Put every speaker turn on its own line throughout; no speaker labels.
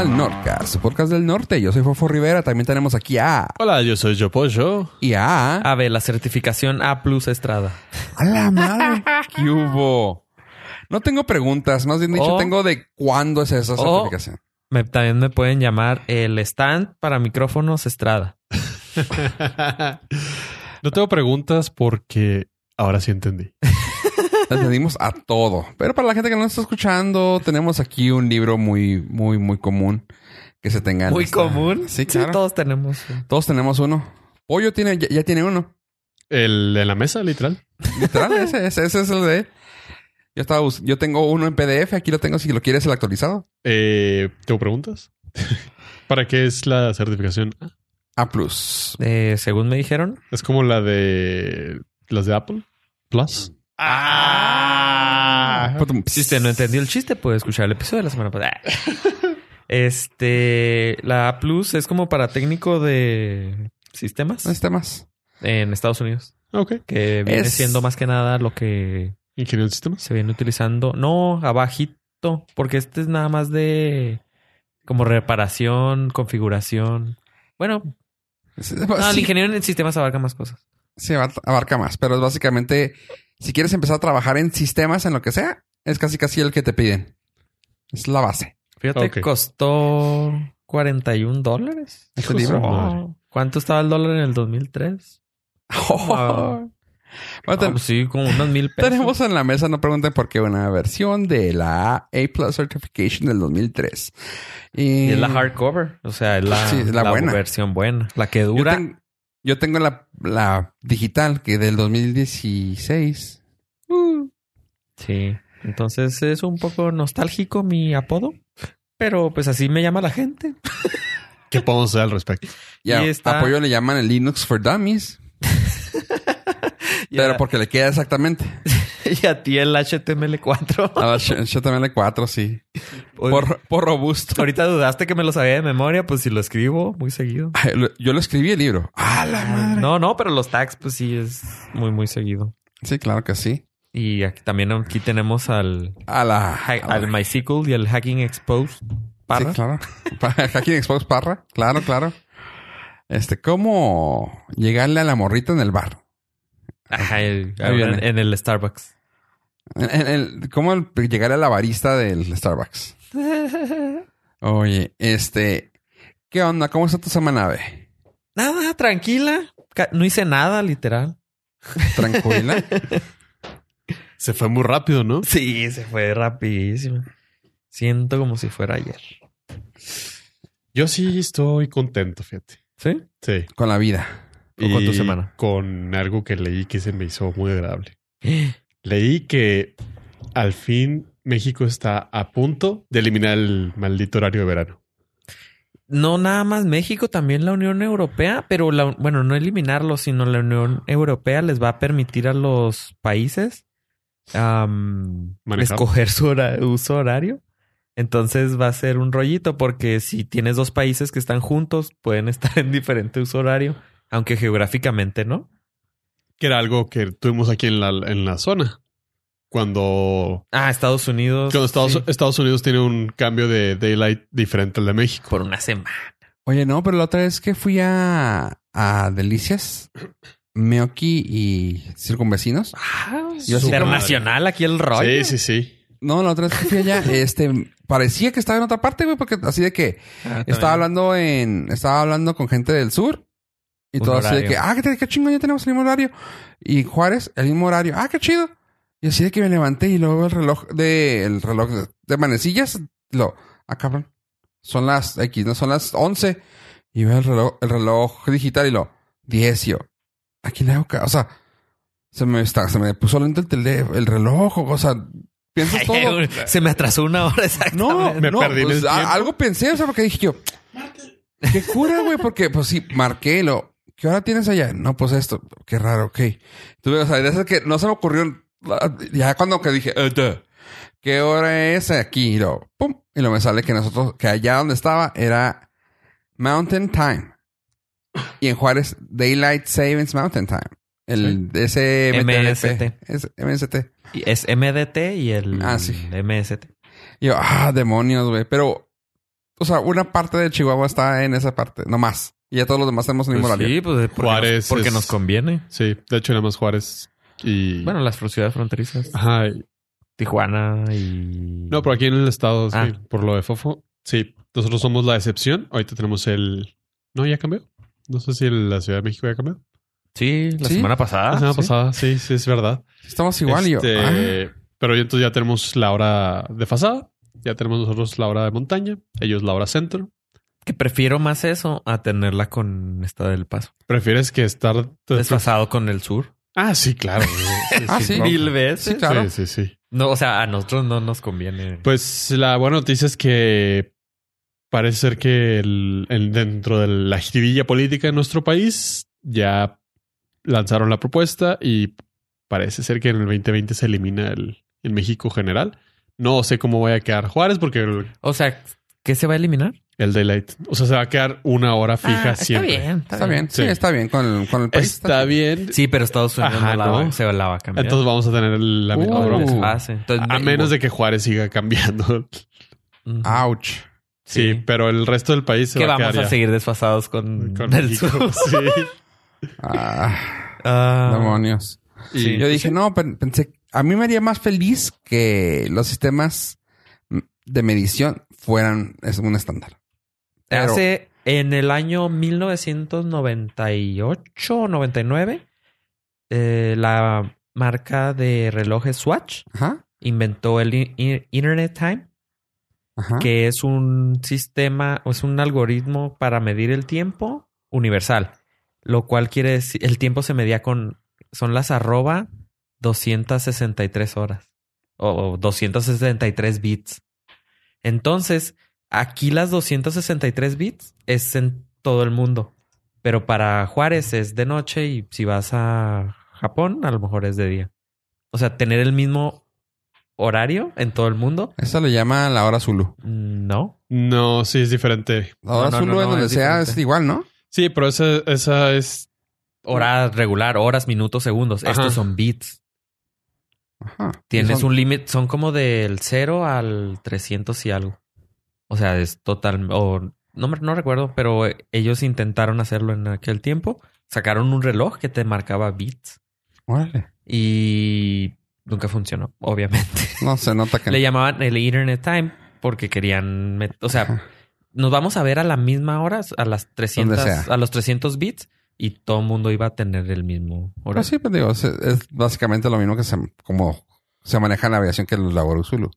podcast, su podcast del norte. Yo soy Fofo Rivera. También tenemos aquí a.
Hola, yo soy Yopoyo.
Y a.
A ver, la certificación A Plus Estrada.
¡A la madre! ¿Qué hubo? No tengo preguntas, más bien dicho,
O-
tengo de cuándo es esa
o-
certificación.
Me- también me pueden llamar el stand para micrófonos Estrada.
No tengo preguntas porque ahora sí entendí.
La Entendimos a todo. Pero para la gente que no nos está escuchando, tenemos aquí un libro muy, muy, muy común que se tenga. en
Muy
esta-
común.
Sí, claro. todos...
todos tenemos.
tenemos uno. Pollo tiene, ya, ya tiene uno.
El de la mesa, literal.
Literal, ese, ese, ese es el de él. Yo, estaba, bus- yo tengo uno en PDF, aquí lo tengo si lo quieres el actualizado.
Eh, ¿Tengo preguntas? ¿Para qué es la certificación? Ah,
A plus.
Eh, según me dijeron.
Es como la de las de Apple Plus. Ah,
Si usted pues, este, no entendió el chiste, puede escuchar el episodio de la semana pasada. Este, la A Plus es como para técnico de sistemas
Necesita más.
en Estados Unidos,
Ah, ok.
que viene
Es-
siendo más que nada lo que
Ingeniero de sistemas.
se viene utilizando. No, abajito, porque este es nada más de como reparación, configuración. Bueno,
Sí,
no, el
Pues sí,
ingeniero en sistemas abarca más cosas.
sí, abar- abarca más, pero es básicamente, si quieres empezar a trabajar en sistemas, en lo que sea, es casi casi el que te piden. Es la base.
Fíjate,
Ok.
costó 41 dólares.
Este
Hijo de
libro.
su madre.
Oh, ¿Cuánto estaba el dólar en el 2003? Wow.
Bueno,
Ah,
ten-
pues sí, como unos mil pesos.
tenemos en la mesa, no pregunten por qué, una versión de la A Plus Certification del 2003.
Y es la
hard
hardcover. O sea, es la,
Sí, es la
la
buena.
versión buena. La que dura.
Yo, ten- yo tengo la, la digital que del 2016.
Sí. Entonces es un poco nostálgico mi apodo. Pero pues así me llama la gente.
¿Qué podemos hacer al respecto?
Y a
Y está-
apoyo le llaman el Linux for Dummies,
Y
pero
a-
porque le queda exactamente.
y a ti el HTML4.
A la Sh- HTML4, sí. Ah, Por, por robusto.
Ahorita dudaste que me lo sabía de memoria, pues si lo escribo muy seguido.
Ay, lo- Yo lo escribí el libro. ¡Ah, la madre!
No, no, pero los tags, pues sí es muy, muy seguido.
Sí, claro que sí.
Y aquí también aquí tenemos al,
A la...
ha-
a
al
la-
MySQL y al Hacking Exposed. Parra.
Sí, claro. Pa- Hacking Expos Parra. Claro, claro. Este, ¿cómo llegarle a la morrita en el bar?
Ajá, el-
Ahí viene.
en- en el Starbucks.
En- en el- ¿Cómo el- llegarle a la barista del Starbucks? Oye, este, ¿qué onda? ¿Cómo está tu semana, Ave?
Nada, tranquila. Ca- No hice nada, literal.
¿Tranquila?
Se fue muy rápido, ¿no?
Sí, se fue rapidísimo. Siento como si fuera ayer.
Yo sí estoy contento, fíjate.
¿Sí?
Sí.
Con la vida.
¿O con tu semana?
Con algo que leí que se me hizo muy agradable. Leí que al fin México está a punto de eliminar el maldito horario de verano.
No nada más México, también la Unión Europea, pero la, bueno, no eliminarlo, sino la Unión Europea les va a permitir a los países am,
Manejar.
escoger su hora- uso horario. Entonces va a ser un rollito porque si tienes dos países que están juntos, pueden estar en diferente uso horario, aunque geográficamente no.
Que era algo que tuvimos aquí en la, en la zona. Cuando,
Ah, Estados Unidos.
cuando Estados,
sí.
Estados Unidos tiene un cambio de daylight diferente al de México.
Por una semana.
Oye, no, pero la otra vez que fui a, a Delicias, Meoki y Circunvecinos. Yo así-
internacional aquí el rollo.
Sí, sí, sí.
No, la otra vez que fui allá, este, parecía que estaba en otra parte, güey, porque así de que
Ah,
estaba
también.
hablando en, estaba hablando con gente del sur. Y
Un
todo así de
horario.
que, ah, qué, qué chingón, ya tenemos el mismo horario. Y Juárez, el mismo horario. Ah, qué chido. Y así de que me levanté y luego el reloj de, el reloj de, de manecillas, lo, ah, cabrón. Son las X, no son las 11. Y veo el reloj, el reloj digital y lo, 10. Y yo, aquí le hago, ca-? o sea, se me está, se me puso lento el teléfono, el reloj, o sea, piensas todo.
Se me atrasó una hora
No,
exactamente.
Me
no,
perdí en
pues,
el
a-
tiempo.
algo pensé, o sea, porque dije yo, qué cura, güey, porque pues sí, marqué lo. ¿Qué hora tienes allá? No, pues esto, qué raro, ok. Tuve, o sea, de esas que no se me ocurrió, ya cuando que dije, eh, duh, ¿qué hora es aquí? Y lo, pum, y lo me sale que nosotros, que allá donde estaba era Mountain Time. Y en Juárez, Daylight Savings Mountain Time. El ese
MST.
Es MST.
Y Es MDT y el
Ah, sí.
MST.
Y yo, ah, demonios, güey. Pero o sea, una parte de Chihuahua está en esa parte, nomás. Y ya todos los demás tenemos el mismo
Pues
horario.
sí, pues porque,
Juárez
nos, porque
es-
nos conviene.
Sí, de hecho, nada más Juárez y.
Bueno, las fr- ciudades fronterizas.
Ajá. y-
Tijuana y...
No, pero aquí en el estado, sí,
Ah.
por lo de Fofo. Sí, nosotros somos la excepción. Ahorita tenemos el. No, ya cambió. No sé si la Ciudad de México ya cambió.
Sí, la
Ah, Sí.
semana pasada.
la semana
sí.
pasada, sí, sí, es verdad.
Estamos igual y yo.
Este,
ah,
Pero entonces ya tenemos la hora de fasada. Ya tenemos nosotros la hora de montaña. Ellos la hora centro.
Que prefiero más eso a tenerla con esta del paso.
¿Prefieres que estar
Desfasado con el sur.
Ah, sí, claro.
Ah, sí.
bronca.
Mil
veces.
sí, claro.
Sí, sí, sí.
No, o sea, a nosotros no nos conviene.
Pues la buena noticia es que parece ser que el- el- dentro de la jiribilla política de nuestro país ya lanzaron la propuesta y parece ser que en el 2020 se elimina el, el México general. No sé cómo vaya a quedar Juárez porque el,
o sea, ¿qué se va a eliminar?
el daylight, o sea, se va a quedar una hora fija
Ah,
siempre.
Está bien, está,
está bien. Sí,
sí.
está bien con el, con el país.
Está bien.
Sí, pero Estados Unidos
Ajá,
no la,
no.
va, se la va a cambiar.
Entonces vamos a tener la misma
Uh.
bronca.
Desfase. Entonces,
A
me-
menos de que Juárez siga cambiando.
Ujú.
Ouch.
Sí,
Sí.
pero el resto del país se
que
va a
vamos
quedar
a
ya
seguir desfasados con,
con
el
México.
sur.
Sí.
Ah,
Ah,
demonios.
Sí.
Yo dije, no, pen- pensé, a mí me haría más feliz que los sistemas de medición fueran es un estándar. Pero-
Hace en el año 1998 o 99, eh, la marca de relojes Swatch
Ajá.
inventó el i- i- Internet Time,
Ajá.
que es un sistema, o es un algoritmo para medir el tiempo universal, lo cual quiere decir, el tiempo se medía con, son las arroba 263 horas o, o 263 bits. Entonces, aquí las 263 bits es en todo el mundo, pero para Juárez es de noche y si vas a Japón, a lo mejor es de día. O sea, tener el mismo horario en todo el mundo,
Eso le llama la hora Zulu.
no.
No, sí, es diferente.
La hora
No, no,
Zulu
no,
en
no,
donde
es
sea
diferente.
es igual, ¿no?
Sí, pero esa, esa es.
hora regular, horas, minutos, segundos.
Ajá.
Estos son bits.
Ajá.
Tienes
Son-
un límite, son como del 0 al 300 y algo. O sea, es total, o no, me- no recuerdo, pero eh, ellos intentaron hacerlo en aquel tiempo. Sacaron un reloj que te marcaba bits
Órale.
y nunca funcionó, obviamente.
No se nota que.
Le llamaban el Internet Time porque querían, met- o sea,
Ajá.
nos vamos a ver a la misma hora, a las 300,
sea.
a los 300 bits y todo el mundo iba a tener el mismo horario.
Pero sí, pues digo, es, es básicamente lo mismo que se, como se maneja en la aviación que el labor Zulu.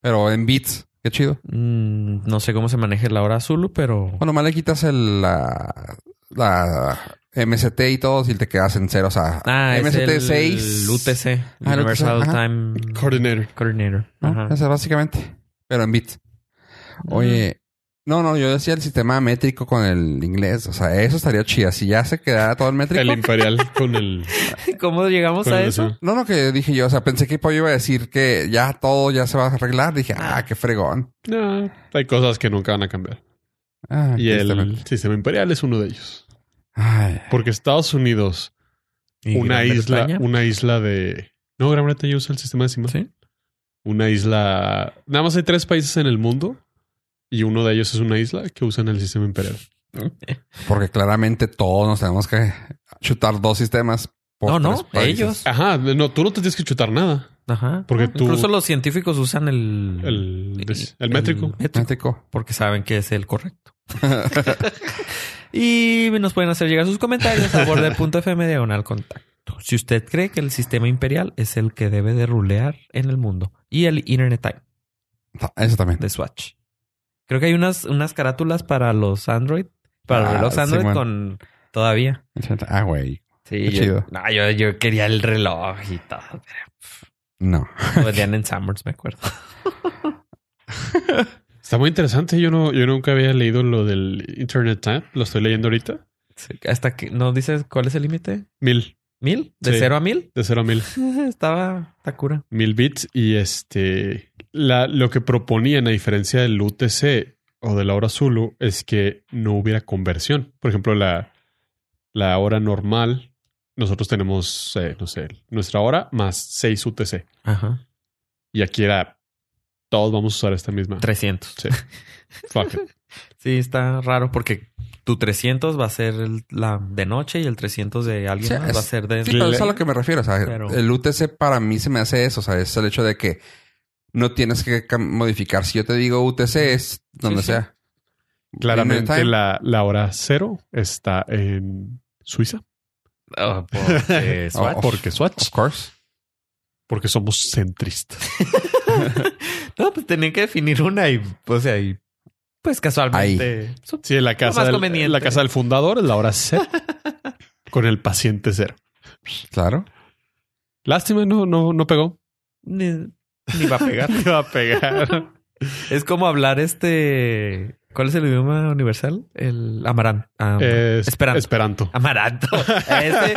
Pero en bits, qué chido.
Mm, no sé cómo se maneja la hora Zulu, pero
Bueno, más le quitas el, la, la MST y todo y te quedas en ceros. O sea,
ah, es
MST
el
6.
UTC,
Ah, el
Universal
UTC, ajá.
Time
Coordinator.
Coordinator.
¿no?
Ajá. Ah.
Eso básicamente. Pero en bits. Oye, no, no, yo decía el sistema métrico con el inglés. O sea, eso estaría chida. Si ya se quedara todo el métrico.
El imperial con el.
¿Cómo llegamos
con
a
el-
eso?
No, no, que dije yo, o sea, pensé que Pollo iba a decir que ya todo ya se va a arreglar. Dije, ah, qué fregón.
No, hay cosas que nunca van a cambiar.
Ah,
Y el
tristemente.
sistema imperial es uno de ellos.
Ay,
Porque Estados Unidos, una
Gran
isla,
Bretaña?
una isla de. No, Gran Bretaña usa el sistema decimal.
Sí.
Una isla. Nada más hay tres países en el mundo y uno de ellos es una isla que usan el sistema imperial.
porque claramente todos nos tenemos que chutar dos sistemas.
No, no,
tres países.
ellos.
Ajá, no, tú no te tienes que chutar nada.
Ajá.
Porque
No,
tú-
Incluso los científicos usan el,
El, des- el métrico.
Métrico.
porque saben que es el correcto. y nos pueden hacer llegar sus comentarios a borde.fm diagonal contacto. Si usted cree que el sistema imperial es el que debe de rulear en el mundo y el Internet Time.
Ta- Eso también.
de Swatch. Creo que hay unas, unas carátulas para los Android, para
Ah,
los Android
Simón.
con todavía.
Ah, güey.
Sí,
Qué
yo,
chido.
No, yo, yo quería el reloj y todo.
No.
Lo vendían Pues en Summers, me acuerdo.
Está muy interesante. Yo no, yo nunca había leído lo del Internet Time. Lo estoy leyendo ahorita.
Sí, Hasta que no dices cuál es el límite.
Mil,
¿Mil? ¿De
Sí.
cero a mil?
de cero a mil.
Estaba Takura.
Mil bits. Y este la, lo que proponían, a diferencia del UTC o de la hora Zulu, es que no hubiera conversión. Por ejemplo, la, la hora normal, nosotros tenemos, eh, no sé, nuestra hora más 6 UTC.
Ajá.
Y aquí era todos vamos a usar esta misma.
300.
Sí. Fuck it.
Sí, está raro porque tu 300 va a ser el- la de noche y el 300 de alguien
Sí,
más
es-
va a ser de...
Sí, pero es a lo que me refiero. O sea,
Pero-
el UTC para mí se me hace eso. O sea, es el hecho de que no tienes que cam- modificar. Si yo te digo UTC, es donde
Sí, sí.
sea. Dinner
Claramente
time.
la, la hora cero está en Suiza.
Ah, porque
Swatch.
Swatch.
Porque Swatch.
Of course.
Porque somos centristas.
No, pues tenían que definir una y, o sea, y pues casualmente. Sup-
Sí, la casa,
más
del,
conveniente.
la casa del fundador es la hora cero. con el paciente cero.
Claro.
Lástima, no, no, no pegó.
Ni, ni va a pegar.
Te va a pegar.
es como hablar este. ¿Cuál es el idioma universal? El amaranto.
Es-
Esperanto.
Esperanto.
amaranto. Este-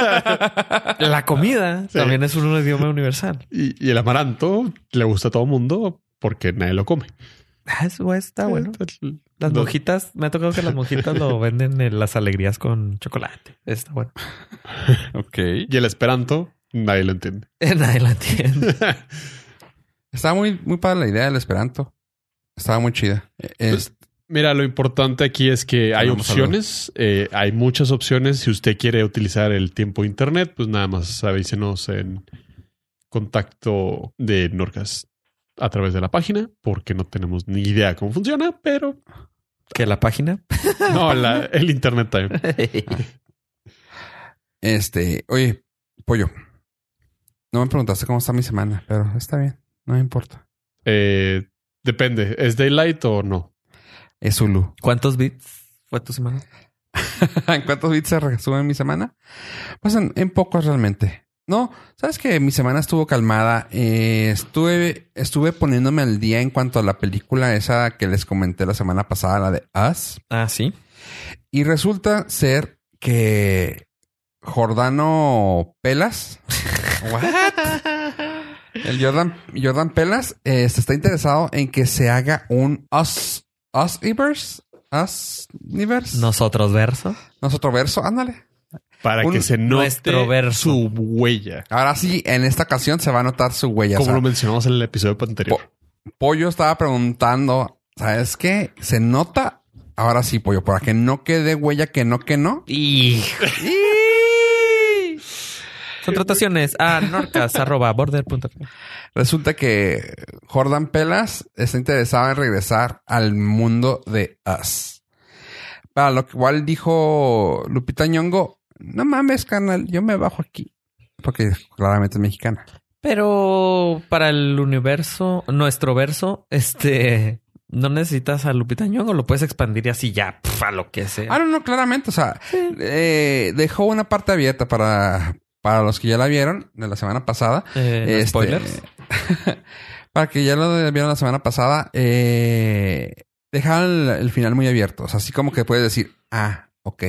la comida
Sí.
también es un idioma universal.
Y, y el amaranto le gusta a todo mundo porque nadie lo come.
Ah, Eso güey, está bueno. Las
No.
mojitas, me ha tocado que las mojitas lo venden en las alegrías con chocolate. Está bueno.
Ok.
Y el esperanto, nadie lo entiende.
Nadie la entiende.
Estaba muy, muy padre la idea del Esperanto. Estaba muy chida. Eh, es-
Mira, lo importante aquí es que hay
Tenemos
opciones, eh, hay muchas opciones. Si usted quiere utilizar el tiempo internet, pues nada más avísenos en contacto de Norcas a través de la página, porque no tenemos ni idea cómo funciona, pero
que la página.
no, la- el internet time.
este, oye, pollo. No me preguntaste cómo está mi semana, pero está bien. No me importa.
Eh, depende, ¿es daylight o no?
Es Zulu.
¿Cuántos bits fue tu semana?
¿En cuántos bits se resume mi semana? Pues en, en pocos realmente. No, sabes que mi semana estuvo calmada. Eh, estuve, estuve poniéndome al día en cuanto a la película esa que les comenté la semana pasada, la de Us.
Ah, sí.
Y resulta ser que Jordano Pelas. El Jordan, Jordan Pelas eh, se está interesado en que se haga un Us. Us Universe. Us Universe.
Nosotros verso.
Nosotro verso. Ándale.
Para
Un-
que se note
nuestro verso.
su huella.
Ahora sí, en esta ocasión se va a notar su huella.
Como
o sea,
lo mencionamos en el episodio anterior.
Oh.
Pollo estaba preguntando, ¿sabes qué? ¿Se nota? Ahora sí, Pollo, para que no quede huella que no, que no.
Hijo. Contrataciones a norcas.border.com.
Resulta que Jordan Pelas está interesado en regresar al mundo de Us. Para lo cual dijo Lupita Ñongo, no mames, canal, yo me bajo aquí. Porque claramente es mexicana.
Pero para el universo, nuestro verso, este, no necesitas a Lupita Ñongo, lo puedes expandir y así ya, pf, a lo que sea.
Ah, no, no, claramente. O sea, eh, dejó una parte abierta para, para los que ya la vieron de la semana pasada.
Eh, ¿no
Este,
spoilers.
para que ya lo vieron la semana pasada, eh, dejaron el, el final muy abierto. O sea, así como que puedes decir, ah, ok,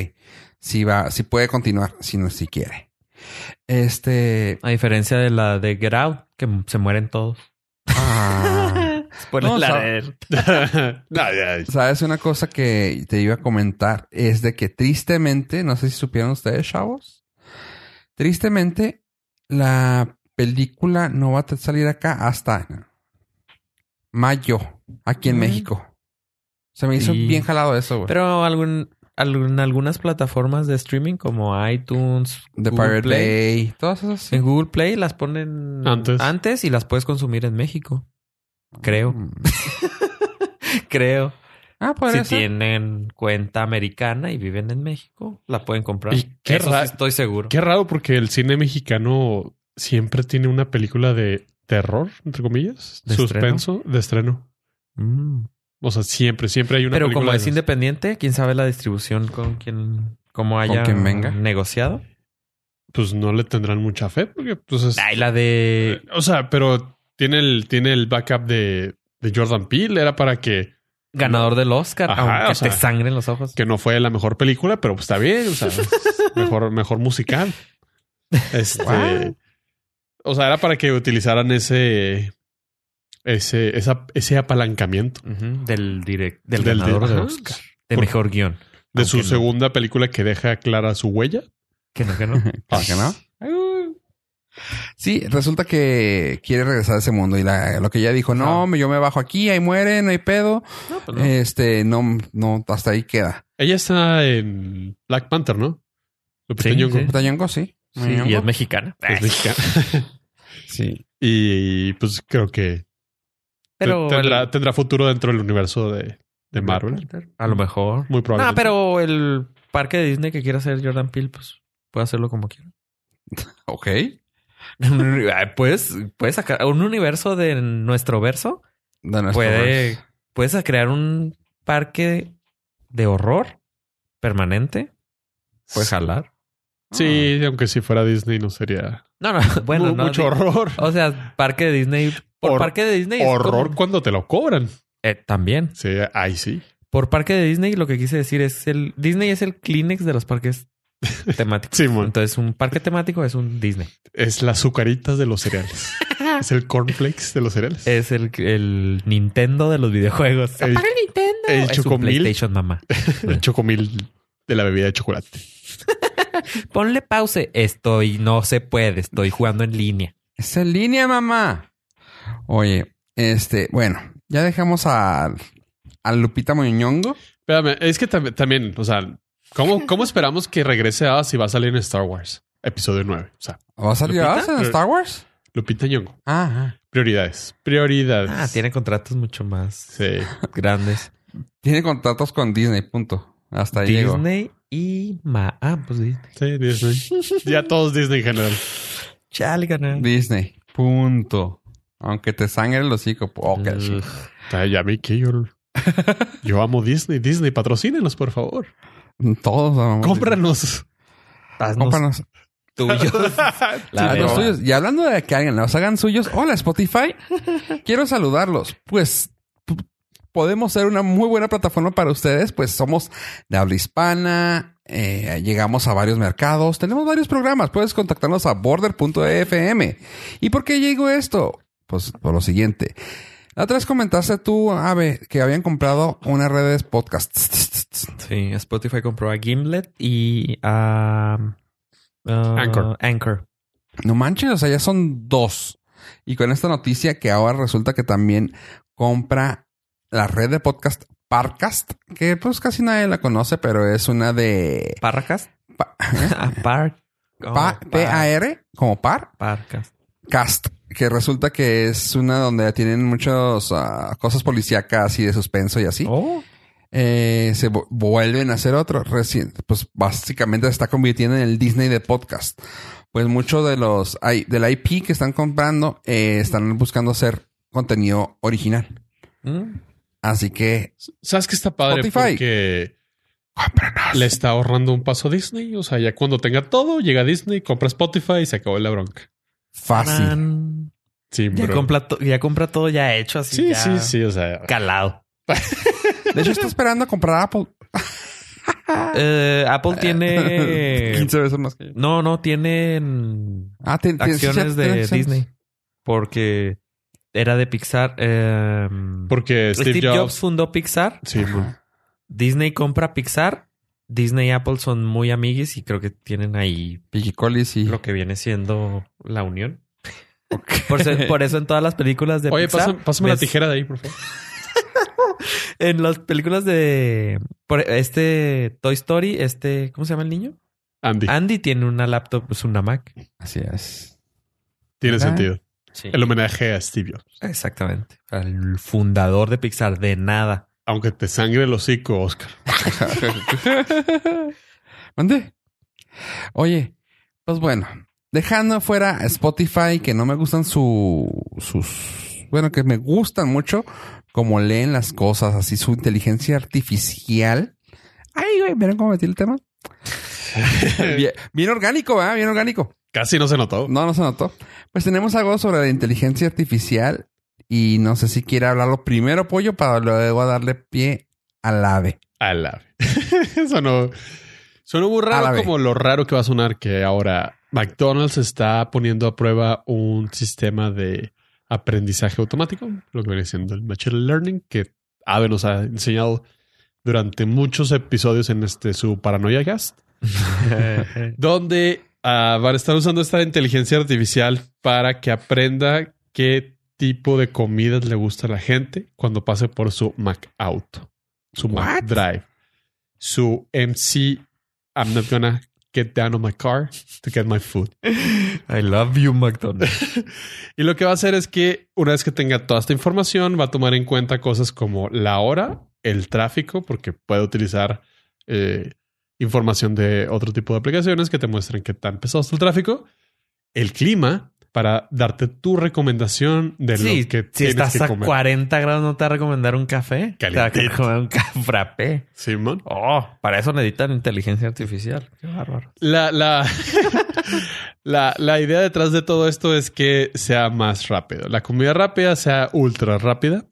si va, si puede continuar, si no, si quiere. Este.
A diferencia de la de Get Out, que se mueren todos.
ah.
Spoiler
No, o sea,
alert.
No, ya, ya.
Sabes, una cosa que te iba a comentar es de que tristemente, no sé si supieron ustedes, chavos, tristemente la película no va a salir acá hasta mayo, aquí en
Mm.
México. Se me hizo
Sí.
bien jalado eso, güey.
Pero algún, algún- algunas plataformas de streaming como iTunes,
The
Google
Pirate
Play,
Bay, todas esas. sí.
En Google Play las ponen
Antes.
y las puedes consumir en México. Creo,
Mm.
Mm.
creo.
Ah, por
si tienen cuenta americana y viven en México, la pueden comprar.
Y qué
Eso sí
ra-
estoy seguro.
Qué raro porque el cine mexicano siempre tiene una película de terror, entre comillas,
¿De
suspenso de estreno.
Mm.
O sea, siempre, siempre hay una
Pero
película
como
de
es
esas.
independiente, quién sabe la distribución con quién, cómo haya
quien venga.
negociado.
pues no le tendrán mucha fe porque pues es- eh,
Ay, la de
o sea, pero tiene el tiene el backup de, de Jordan Peele era para que
ganador del Oscar,
Ajá,
aunque
o sea,
te sangren los ojos.
que no fue la mejor película, pero pues está bien, o sea, es mejor mejor musical. Este,
Wow.
o sea, era para que utilizaran ese ese esa, ese apalancamiento.
Ujú, mm, Del, direct, del,
Del-
ganador
ajá.
del Oscar. De
Por-
mejor guión.
De su
Aunque no.
segunda película que deja clara su huella.
Que no, que no.
¿Para que no? Sí, resulta que quiere regresar a ese mundo y la- lo que ella dijo, no,
Ah.
me- yo me bajo aquí, ahí muere, no hay pedo.
No, pues no.
Este, no, no, hasta ahí queda.
Ella está en Black Panther, ¿no? Lupita
Sí,
Nyong'o.
sí.
Tañongo, sí.
Sí, y es mexicana.
Es mexicana.
Sí.
y pues creo que
Pero
te- tendrá,
el-
tendrá futuro dentro del universo de, de Marvel.
A lo mejor.
Muy probable.
No, pero el parque de Disney que quiera hacer Jordan Peele, pues puede hacerlo como quiera.
Ok.
Ay, puedes, puedes sacar un universo de nuestro verso.
De nuestro
Puede,
verso.
puedes crear un parque de horror permanente. Puedes jalar.
Pues, Sí, aunque si fuera Disney no sería
No, no, bueno,
mu-
no,
mucho
di-
horror.
O sea, parque de Disney. Por
Hor-
parque de Disney. es
Horror
como-
cuando te lo cobran.
Eh, también.
Sí, ahí sí.
Por parque de Disney, lo que quise decir es el Disney es el Kleenex de los parques temáticos.
Simón.
Entonces, un parque temático es un Disney.
Es las azucaritas de los cereales. es el cornflakes de los cereales.
Es el, el Nintendo de los videojuegos.
El-
¡Apaga el Nintendo!
el
es un
Chocomil.
PlayStation, mamá.
El chocomil de la bebida de chocolate.
Ponle pause. Estoy, no se puede, estoy jugando en línea.
Es en línea, mamá. Oye, este, bueno, ya dejamos a, a Lupita Muñongo.
Espérame, es que tam- también, o sea, ¿cómo, cómo esperamos que regrese a si va a salir en Star Wars? Episodio 9. O sea,
¿Va a salir
¿Lupita?
Oz en
Pero-
Star Wars?
Lupita Nyong'o.
Ah, ah.
Prioridades. Prioridades.
Ah, tiene contratos mucho más
Sí.
grandes.
tiene contratos con Disney, punto. Hasta ahí llegó.
Disney y Ma. Ah, pues Disney.
Sí, Disney. ya todos Disney en general.
Chale, ganar.
Disney, punto. Aunque te sangre el hocico. Oh, qué
Ugh.
Ay, Ya me que yo... Yo amo Disney. Disney, patrocínenos, por favor.
Todos. amamos
Cómpranos.
Disney. Cómpranos.
tuyos.
Hazlos
La verdad.
suyos. Y hablando de que alguien los hagan suyos, hola Spotify, quiero saludarlos. Pues p- podemos ser una muy buena plataforma para ustedes, pues somos de habla hispana, eh, llegamos a varios mercados, tenemos varios programas, puedes contactarnos a border.fm. ¿Y por qué llegó esto? Pues por lo siguiente. La otra vez comentaste tú, Ave, que habían comprado una red de podcasts.
Sí, Spotify compró a Gimlet y a ah,
Anchor.
Anchor.
No manches, o sea, ya son dos. Y con esta noticia que ahora resulta que también compra la red de podcast Parcast, que pues casi nadie la conoce, pero es una de
Paracast.
Pa-
Ah, par.
Pa-
oh, par-
P-A-R, como par,
Parcast.
cast, que resulta que es una donde tienen muchas ah, cosas policíacas y de suspenso y así.
Oh,
Eh, se vu- vuelven a hacer otro. Recién, pues básicamente se está convirtiendo en el Disney de podcast. Pues muchos de los I- del IP que están comprando eh, están buscando hacer contenido original.
mm,
Así que
¿Sabes qué está padre?
Spotify.
Porque le está ahorrando un paso a Disney. O sea, ya cuando tenga todo, llega a Disney, compra Spotify y se acabó la bronca.
fácil.
tan.
Sí,
Ya
bro.
compra, to- ya compra todo ya hecho así.
Sí,
ya
sí, sí. O sea,
Calado.
De hecho, está esperando a comprar Apple
Ah.
Eh, Apple tiene.
15 veces más que yo.
No, no, tienen
Ah, tien- tien- sí,
acciones
sí, tiene
de
acciones.
Disney. Porque era de Pixar. eh,
porque
Steve,
Steve,
Jobs.
Jobs.
fundó Pixar.
Sí, bro.
Disney compra Pixar. Disney y Apple son muy amiguis y creo que tienen ahí
Pigicolis y.
lo que viene siendo la unión. Por, eso- por eso en todas las películas de
Oye,
Pixar.
pásame, pásame la
ves-
tijera de ahí, por favor.
En las películas de por este Toy Story, este, ¿cómo se llama el niño?
Andy,
Ah,
Andy tiene una laptop, es una Mac.
Así es.
tiene
¿verdad?
sentido.
Sí.
El homenaje a Steve Jobs.
Exactamente. Al fundador de Pixar, de nada.
Aunque te sangre el hocico, Oscar.
Mandé. Oye, pues bueno, dejando fuera a Spotify, que no me gustan su, sus. Bueno, que me gustan mucho como leen las cosas, así su inteligencia artificial. Ay, güey, ¿vieron cómo metí el tema? bien, bien orgánico, ¿verdad? Bien orgánico.
Casi no se notó.
No, no se notó. Pues tenemos algo sobre la inteligencia artificial y no sé si quiere hablarlo primero, pollo, para luego darle pie al ave.
A la Eso no. Suena muy
A la
raro
vez.
como lo raro que va a sonar que ahora McDonald's está poniendo a prueba un sistema de aprendizaje automático, lo que viene siendo el Machine Learning, que Ave nos ha enseñado durante muchos episodios en este su Paranoia Cast, donde ah, van a estar usando esta inteligencia artificial para que aprenda qué tipo de comidas le gusta a la gente cuando pase por su Mac Auto, su
What?
Mac Drive, su MC. I'm not gonna get down on my car to get my food.
I love you, McDonald's.
Y lo que va a hacer es que una vez que tenga toda esta información, va a tomar en cuenta cosas como la hora, el tráfico, porque puede utilizar eh, información de otro tipo de aplicaciones que te muestren qué tan pesado está el tráfico, el clima, para darte tu recomendación de
Sí,
lo que
si
tienes
estás
que
a
comer.
40 grados, no te va a recomendar un café. Te va a
Calientito.
recomendar un ca- frappé.
Simón.
Oh, para eso necesitan inteligencia artificial. Qué bárbaro.
La, la, la, la idea detrás de todo esto es que sea más rápido. La comida rápida sea ultra rápida.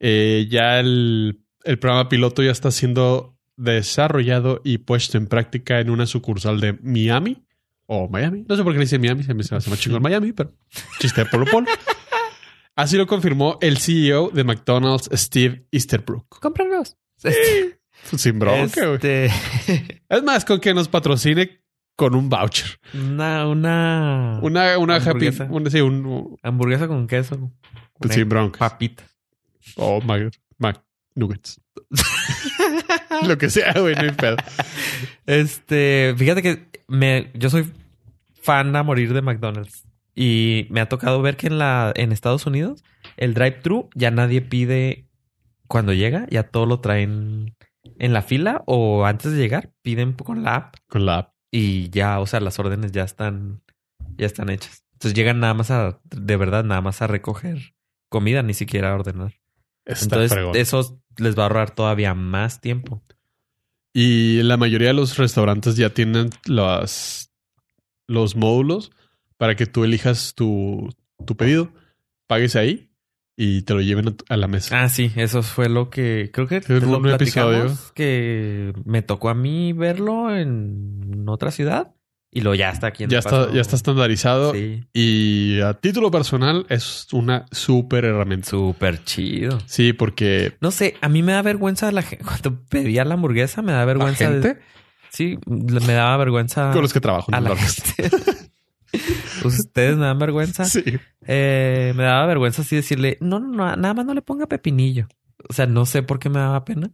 Eh, ya el, el programa piloto ya está siendo desarrollado y puesto en práctica en una sucursal de Miami o Miami. No sé por qué le dicen Miami, se me se me hace más chingón Miami, pero chiste de Polo Polo. Así lo confirmó el CEO de McDonald's, Steve Easterbrook. Pues
Cómpranos.
Sin bronca, güey.
Este,
Es más, con que nos patrocine con un voucher.
una, Ah, una,
Una, una happy.
Hamburguesa.
Una, sí, un. un-
hamburguesa con queso.
pues sin broncas.
papita.
O Mac, Mac Nuggets. Lo que sea, güey, no hay pedo.
Este, fíjate que me, yo soy fan a morir de McDonald's. Y me ha tocado ver que en la, en Estados Unidos, el drive-thru ya nadie pide cuando llega, ya todo lo traen en la fila o antes de llegar, piden con la app
Con la app.
y ya, o sea, las órdenes ya están, ya están hechas. Entonces llegan nada más a, de verdad, nada más a recoger comida, ni siquiera a ordenar.
Está
Entonces,
fregón.
eso les va a ahorrar todavía más tiempo.
Y la mayoría de los restaurantes ya tienen las, los módulos para que tú elijas tu, tu pedido, pagues ahí y te lo lleven a, tu- a la mesa.
Ah, sí, eso fue lo que creo que
Sí,
te lo
un episodio.
platicamos que me tocó a mí verlo en otra ciudad y lo ya está aquí en
ya,
El
está,
Paso.
ya está estandarizado.
Sí,
Y a título personal es una súper herramienta.
súper chido.
Sí, porque
No sé, a mí me da vergüenza la gente. Cuando pedía la hamburguesa, me da
¿La
vergüenza. de-
gente?
sí, me daba vergüenza.
con los que trabajo.
Ah, a
no
la
lo-
gente. Ustedes me dan vergüenza.
Sí.
Eh, me daba vergüenza así decirle, no, no, no, nada más no le ponga pepinillo. O sea, no sé por qué me daba pena.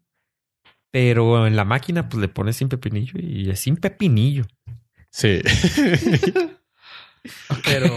Pero en la máquina, pues le pones sin pepinillo y es sin pepinillo.
Sí.
Pero.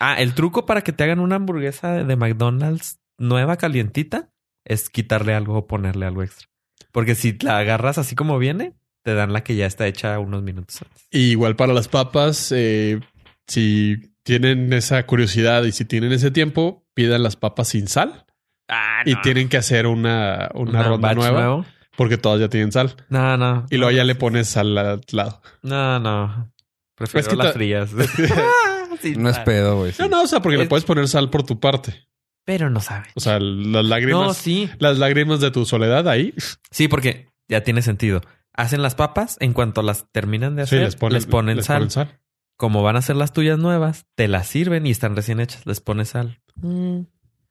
ah, el truco para que te hagan una hamburguesa de, de McDonald's nueva, calientita, es quitarle algo o ponerle algo extra. Porque si la agarras así como viene, te dan la que ya está hecha unos minutos antes.
Y igual para las papas, eh, si tienen esa curiosidad y si tienen ese tiempo, pidan las papas sin sal
Ah,
y tienen que hacer una, una, ronda
batch
nueva
nuevo. Ah,
porque todas ya tienen sal.
No, no.
Y luego ya le pones sal al lado.
No, no. Prefiero
Es que
las
ta-
frías. Ah, Sí,
No es
claro.
pedo, güey. sí.
No, no, o sea, porque le
Es-
puedes poner sal por tu parte.
Pero no sabe.
O sea, las lágrimas,
No, sí.
las lágrimas de tu soledad ahí.
Sí, porque ya tiene sentido. Hacen las papas, en cuanto las terminan de
Sí,
hacer,
les ponen, les
sal.
ponen sal.
Como van a ser las tuyas nuevas, te las sirven y están recién hechas, les pones sal.
Mm.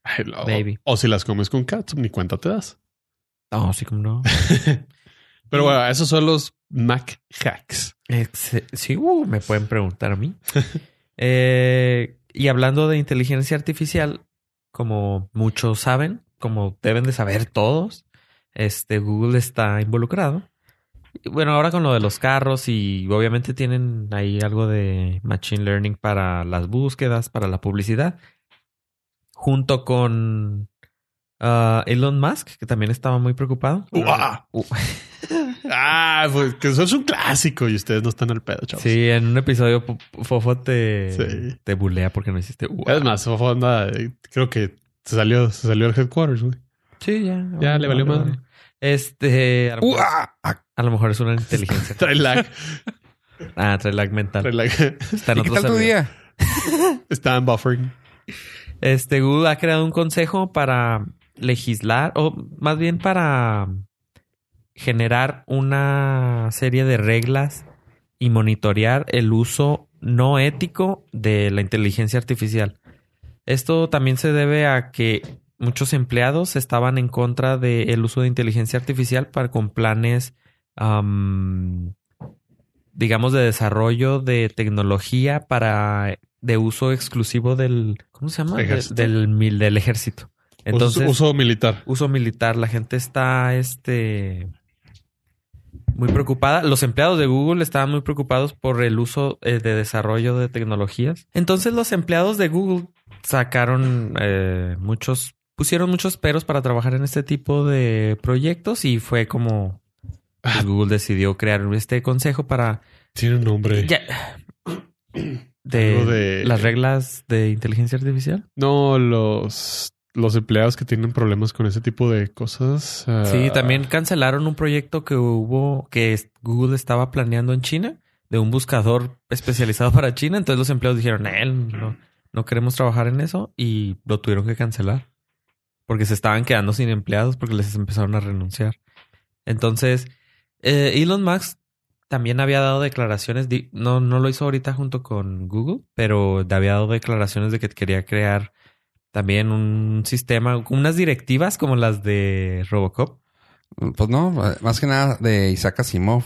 Ay, lo-
Baby.
O si las comes con catsup, ni cuenta te das.
No, sí, como no.
Pero bueno, esos son los Mac hacks.
Ex- Sí, uh, me pueden preguntar a mí. Eh, y hablando de inteligencia artificial, como muchos saben, como deben de saber todos, este Google está involucrado. Y Bueno, ahora con lo de los carros y obviamente tienen ahí algo de machine learning para las búsquedas, para la publicidad, junto con ah, Elon Musk, que también estaba muy preocupado.
¡Uah!
Uh.
Ah, pues que eso es un clásico y ustedes no están al pedo, chavos.
Sí, en un episodio P- Fofo te,
Sí.
te bulea porque no hiciste. u-
Es más, fue onda, eh, creo que se salió, se salió el headquarters, güey.
Sí, ya.
Ya, le valió madre.
Este, a lo,
Uh,
mejor,
ah, ah,
a lo mejor es una inteligencia.
Trae lag,
ah, trae lag mental.
trae lag.
Está en
¿Y qué
otro
tal tu
servidor.
día?
Está en buffering.
Este Google ha creado un consejo para legislar o más bien para generar una serie de reglas y monitorear el uso no ético de la inteligencia artificial. Esto también se debe a que muchos empleados estaban en contra del uso de inteligencia artificial para con planes am, digamos, de desarrollo de tecnología para de uso exclusivo del, ¿cómo se llama? De-
Ejército.
del, mil- del ejército. Entonces,
Uso- uso militar.
uso militar. La gente está este muy preocupada. Los empleados de Google estaban muy preocupados por el uso eh, de desarrollo de tecnologías. Entonces los empleados de Google sacaron eh, muchos, pusieron muchos peros para trabajar en este tipo de proyectos y fue como pues,
Ah.
Google decidió crear este consejo para
Tiene un nombre.
Ya. de,
Algo de-
las reglas de inteligencia artificial.
No, los, los empleados que tienen problemas con ese tipo de cosas. ah,
Sí, también cancelaron un proyecto que hubo, que es- Google estaba planeando en China, de un buscador especializado para China. Entonces los empleados dijeron, "Eh, no, no queremos trabajar en eso y lo tuvieron que cancelar. Porque se estaban quedando sin empleados porque les empezaron a renunciar. Entonces, eh, Elon Musk también había dado declaraciones, di- no, no lo hizo ahorita junto con Google, pero había dado declaraciones de que quería crear también un sistema, unas directivas como las de Robocop.
Pues no, más que nada de Isaac Asimov.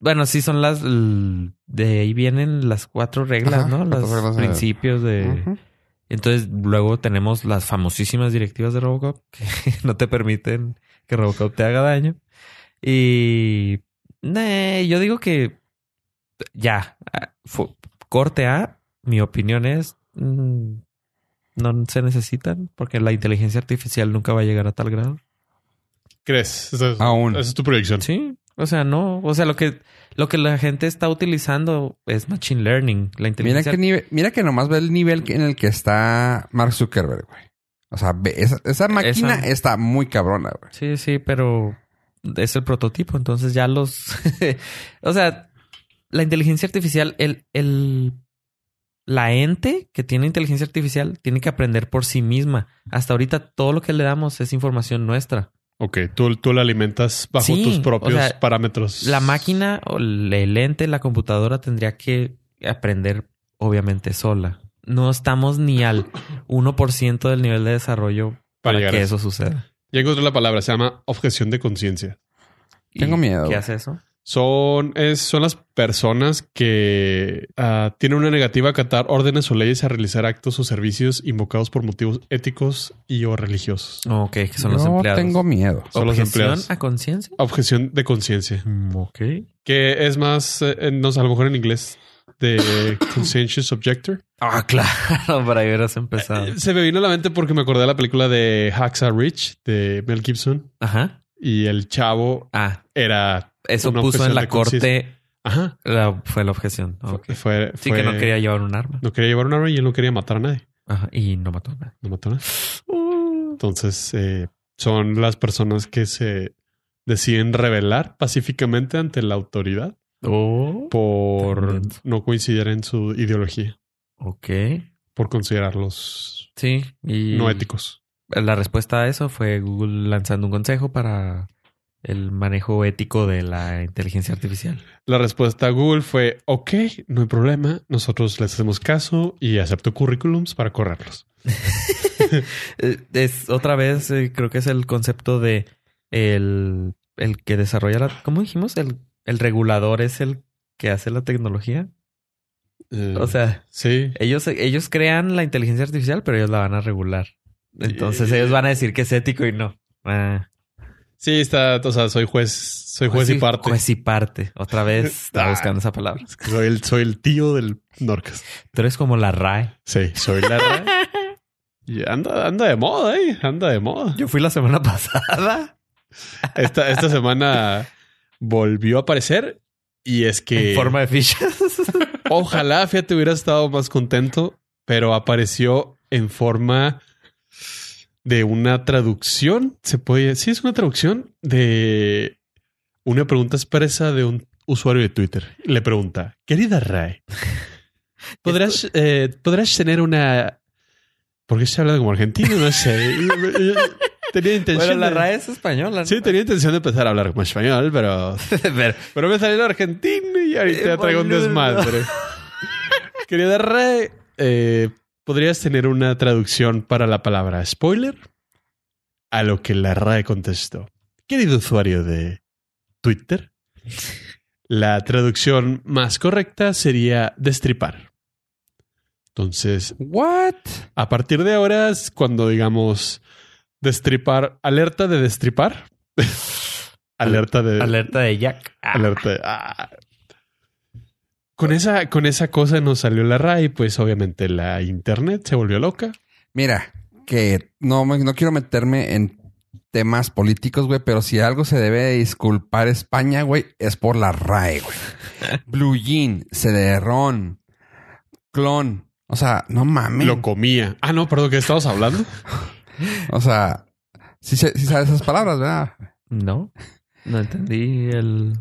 Bueno, sí son las l- de ahí vienen las cuatro reglas,
Ajá,
¿no?
las
Los
reglas de-
principios de.
Ujú.
Entonces luego tenemos las famosísimas directivas de Robocop que no te permiten que Robocop te haga daño y nee, yo digo que ya ah, fu- corte a mi opinión es mm, no se necesitan porque la inteligencia artificial nunca va a llegar a tal grado.
¿Crees? Esa
Ah,
es,
Aún.
esa es tu proyección.
Sí, o sea, no, o sea, lo que lo que la gente está utilizando es machine learning,
Mira
la inteligencia.
que, nive- mira que nomás ve el nivel que- en el que está Mark Zuckerberg, güey. O sea, ve- esa, esa máquina
Esa-
está muy cabrona, güey.
Sí, sí, pero es el prototipo, entonces ya los o sea, la inteligencia artificial el el la ente que tiene inteligencia artificial tiene que aprender por sí misma. Hasta ahorita todo lo que le damos es información nuestra.
Ok, tú, tú la alimentas bajo
Sí,
tus propios
o sea,
parámetros.
La máquina o el el ente, la computadora tendría que aprender obviamente sola. No estamos ni al 1% del nivel de desarrollo para,
llegar
que
a
eso suceda.
Ya encontré la palabra, se llama objeción de conciencia.
¿Y
Tengo miedo,
¿Qué
güey.
hace eso?
Son, es, son las personas que ah, tienen una negativa a acatar órdenes o leyes a realizar actos o servicios invocados por motivos éticos y o religiosos.
Ok, que son los
Yo
empleados.
tengo miedo.
Son los
¿Objeción
empleados. Mm,
a conciencia?
Objeción de conciencia.
ok.
Que es más, eh, no sé, a lo mejor en inglés, de conscientious objector.
Ah, claro, para ahí hubieras empezado.
Se me vino a la mente porque me acordé de la película de Hacksaw Rich de Mel Gibson
Ajá.
y el chavo
Ah,
era.
eso
Una
puso
objeción
en la
de conciencia.
corte.
Ajá.
la- fue la objeción.
Fue-
Ok.
Fue,
Sí,
fue-
que no quería llevar un arma.
no quería llevar un arma y él no quería matar a nadie.
Ajá. Y no mató a nadie.
No mató a nadie. Entonces, eh, son las personas que se deciden rebelar pacíficamente ante la autoridad
Oh.
por
Tremendo.
no coincidir en su ideología,
Ok.
por considerarlos
Sí. Y
no éticos.
La respuesta a eso fue Google lanzando un consejo para el manejo ético de la inteligencia artificial.
La respuesta a Google fue, ok, no hay problema, nosotros les hacemos caso y acepto currículums para correrlos.
Eh, Es otra vez, eh, creo que es el concepto de el, el que desarrolla la. ¿Cómo dijimos? El, el regulador es el que hace la tecnología.
Eh,
O sea,
sí,
ellos, ellos crean la inteligencia artificial, pero ellos la van a regular. Entonces ellos van a decir que es ético y no. Ah,
sí, está, o sea, soy juez, soy juez y parte.
Juez y parte. Otra vez estaba
Ah.
buscando esa palabra.
Es que Soy el, soy el tío del Norcas.
Tú eres como la RAE.
Sí, soy la RAE. Y anda, anda de moda, eh, anda de moda.
Yo fui la semana pasada.
Esta, esta semana volvió a aparecer y es que...
En forma de fichas.
Ojalá, fíjate, hubiera estado más contento, pero apareció en forma de una traducción. Se puede, sí, es una traducción de una pregunta expresa de un usuario de Twitter. Le pregunta, querida Ray, ¿podrás, eh, ¿podrás tener una... ¿Por qué se habla como argentino? No sé. tenía intención
Bueno, la
de-
RAE es española. ¿no?
Sí, tenía intención de empezar a hablar como español, pero
Pero,
pero me salió argentino y ahorita
Eh,
ya traigo un
boludo.
desmadre. Querida Rey, eh, ¿podrías tener una traducción para la palabra spoiler? A lo que la RAE contestó. Querido usuario de Twitter, La traducción más correcta sería destripar. Entonces,
What?
a partir de ahora, es cuando digamos destripar, alerta de destripar, alerta de
Alerta de Jack. Ah,
alerta. Ah. Con esa, con esa cosa nos salió la RAI, pues obviamente la internet se volvió loca.
Mira, que no, me- no quiero meterme en temas políticos, güey, pero si algo se debe de disculpar España, güey, es por la RAE, güey. Blue Jean, Cederón, Clon. O sea, no mames.
Lo comía. Ah, no, perdón, ¿qué estamos hablando?
O sea, sí, se- sí sabes esas palabras, ¿verdad?
No, no entendí el.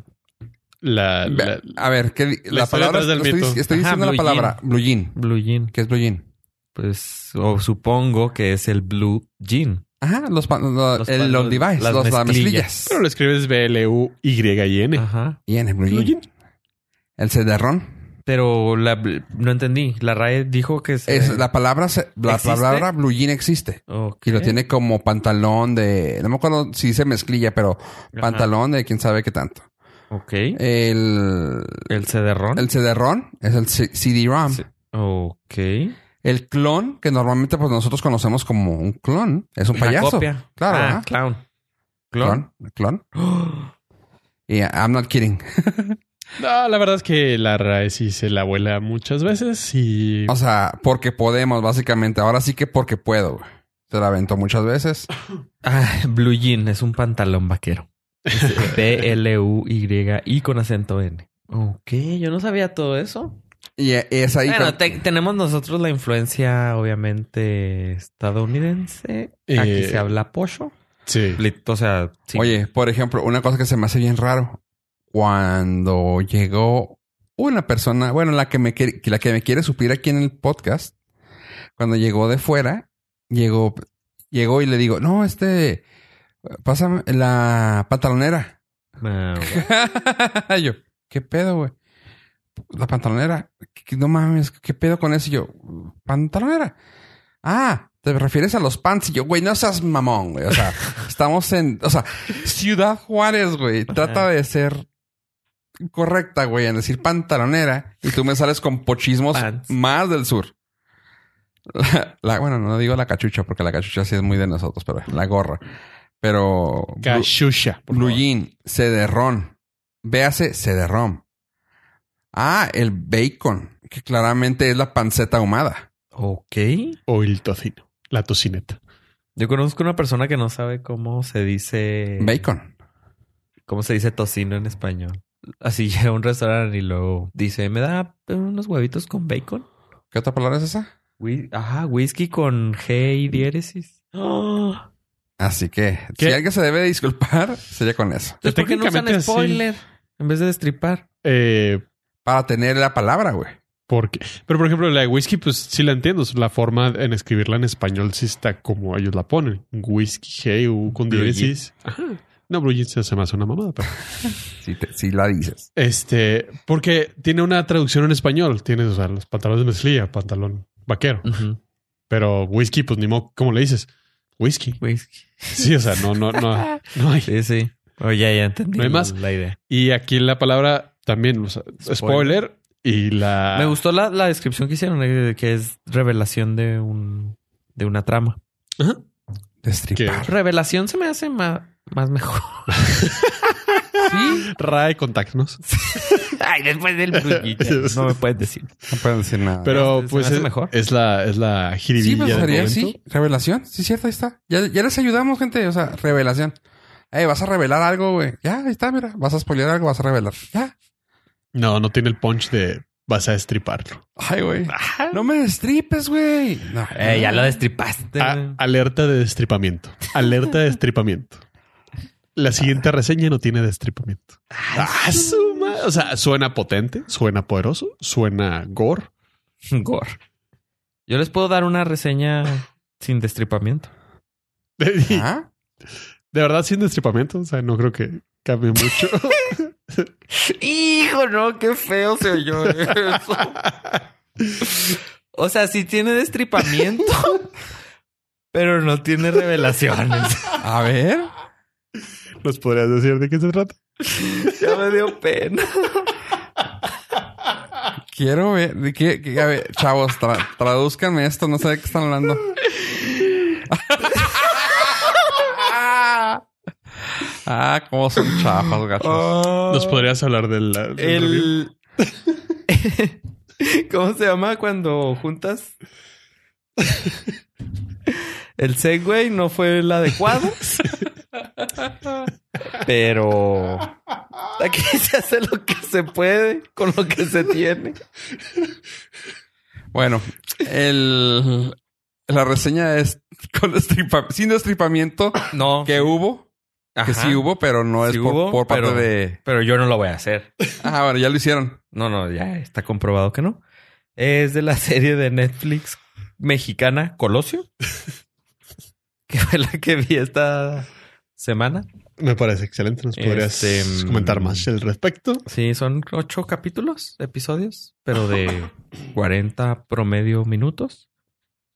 La, la-
a ver, ¿qué, di-
la
la
historia
palabra,
atrás del
estoy,
mito.
estoy
Ajá,
diciendo la
Blue
palabra Blue Jean.
Blue Jean.
¿Qué es Blue Jean?
Pues, o supongo que es el Blue Jean.
Ajá, los, pa- lo-
Los
el-
pan-
los devices,
las
los, las
mezclillas.
mezclillas.
pero lo escribes B-L-U-Y-I-N.
Ah.
Ajá.
Y en el Blue
Blue
Jean. El cederrón.
Pero la, no entendí. La RAE dijo que se-
Es, la palabra, se- la
¿Existe?
palabra blue jean existe.
Ok.
Y lo tiene como pantalón de... No me acuerdo si dice mezclilla, pero
Ajá.
pantalón de quién sabe qué tanto.
Ok.
El,
el cederrón.
el cederrón es el C- CD-ROM.
Sí. Ok.
El clon, que normalmente pues nosotros conocemos como un clon, es un
Una
payaso.
copia.
Claro,
Ah,
¿verdad?
clown.
Clon, clon. Y I'm not kidding.
No, la verdad es que la RAE sí se la vuela muchas veces y
O sea, porque podemos, básicamente. Ahora sí que porque puedo. güey. Se la aventó muchas veces.
Ah, blue jean es un pantalón vaquero. B-L-U-Y-I con acento N. Ok, yo no sabía todo eso.
Y eh, es ahí...
bueno,
cuando-
te- tenemos nosotros la influencia, obviamente, estadounidense. Aquí
Eh,
se habla pollo.
sí.
Lit- O sea, sí.
Oye, por ejemplo, una cosa que se me hace bien raro. Cuando llegó una persona, bueno, la que me quiere, la que me quiere suplir aquí en el podcast, cuando llegó de fuera, llegó, llegó y le digo, no, este, pásame la pantalonera.
Ah, bueno.
yo, ¿qué pedo, güey? La pantalonera. ¿Qué- qué- No mames, ¿qué pedo con eso? Y yo, pantalonera. Ah, te refieres a los pants. Y yo, güey, no seas mamón, güey. O sea, estamos en, o sea, Ciudad Juárez, güey. Trata de ser correcta, güey, en decir pantalonera. Y tú me sales con pochismos
Pants.
más del sur. La, la- bueno, no digo la cachucha, porque la cachucha sí es muy de nosotros, pero la gorra. Pero.
Cachusha. por
Blue
favor.
Jean, cederrón. Véase cederrón. Ah, el bacon, que claramente es la panceta ahumada.
Ok.
O el tocino. La tocineta.
Yo conozco una persona que no sabe cómo se dice.
Bacon.
¿Cómo se dice tocino en español? Así llega a un restaurante y luego dice, ¿me da unos huevitos con bacon?
¿Qué otra palabra es esa?
Whi- Ajá, whisky con G y diéresis. Ah.
Así que,
¿Qué?
si alguien se debe disculpar, sería con eso.
Entonces, ¿por qué no
Pues Técnicamente
usan
sí.
spoiler en vez de destripar?
Eh,
Para tener la palabra, güey.
porque, pero por ejemplo, la de whisky, pues sí la entiendo. Es La forma en escribirla en español sí está como ellos la ponen. Whisky, G, U, con
Blue
diéresis. Ajá. No, Blue Jean se- se me hace una mamada, pero.
Si, te- si la dices.
Este, porque tiene una traducción en español. Tienes, o sea, los pantalones de mezclilla, pantalón vaquero. Pero whisky, pues ni modo, ¿cómo le dices? Whisky.
Whisky.
Sí, o sea, no, no, no, no hay.
Sí, sí. Oye, ya, ya entendí
No hay más.
la idea.
Y aquí la palabra también, o sea,
Spoiler.
spoiler. y la...
Me gustó la, la descripción que hicieron, eh, que es revelación de un de una trama.
Ajá.
Destripar.
Revelación se me hace más, más mejor.
Sí.
RAE contactnos.
Ay, después del
Yes.
No me puedes decir.
No pueden decir nada.
Pero
se
pues
me hace
es,
mejor.
es la, es la
sí,
jiribilla
pues
del
sería
momento.
sí. Revelación. Sí, cierto, ahí está. Ya, ya les ayudamos, gente. O sea, revelación. Eh, vas a revelar algo, güey. Ya, ahí está, mira. Vas a spoiler algo, vas a revelar. Ya.
No, no tiene el punch de vas a estriparlo.
Ay, güey.
Ah,
No me destripes, güey. No.
Eh, ya lo destripaste.
A- alerta de destripamiento. Alerta de destripamiento. La siguiente reseña no tiene destripamiento. Ah, su ma- o sea, suena potente, suena poderoso, suena gore.
Gore. Yo les puedo dar una reseña sin destripamiento.
De,
Ajá.
verdad, sin destripamiento. O sea, no creo que cambie mucho.
Hijo, no, qué feo se oyó eso. o sea, sí tiene destripamiento, pero no tiene revelaciones.
A ver.
¿Nos podrías decir de qué se trata?
Ya me dio pena.
Quiero ver. de qué- qué- a ver, chavos, tra- tradúzcanme esto. No sé de qué están hablando. ah, cómo son chafas, gachos.
Nos podrías hablar del. del review?
El... ¿Cómo se llama cuando juntas? El Segway no fue el adecuado. Pero aquí se hace lo que se puede con lo que se tiene.
Bueno, el, la reseña es con destripa- sin destripamiento
No,
que hubo, que
Ajá.
sí hubo, pero no
Sí
es por,
hubo,
por parte
pero-
de.
pero yo no lo voy a hacer.
Ah, bueno, ya lo hicieron.
No, no, ya está comprobado que no. Es de la serie de Netflix mexicana Colosio. que fue la que vi esta semana.
Me parece excelente. Nos podrías
Este, mm,
comentar más al respecto.
Sí, son ocho capítulos, episodios, pero de 40 promedio minutos.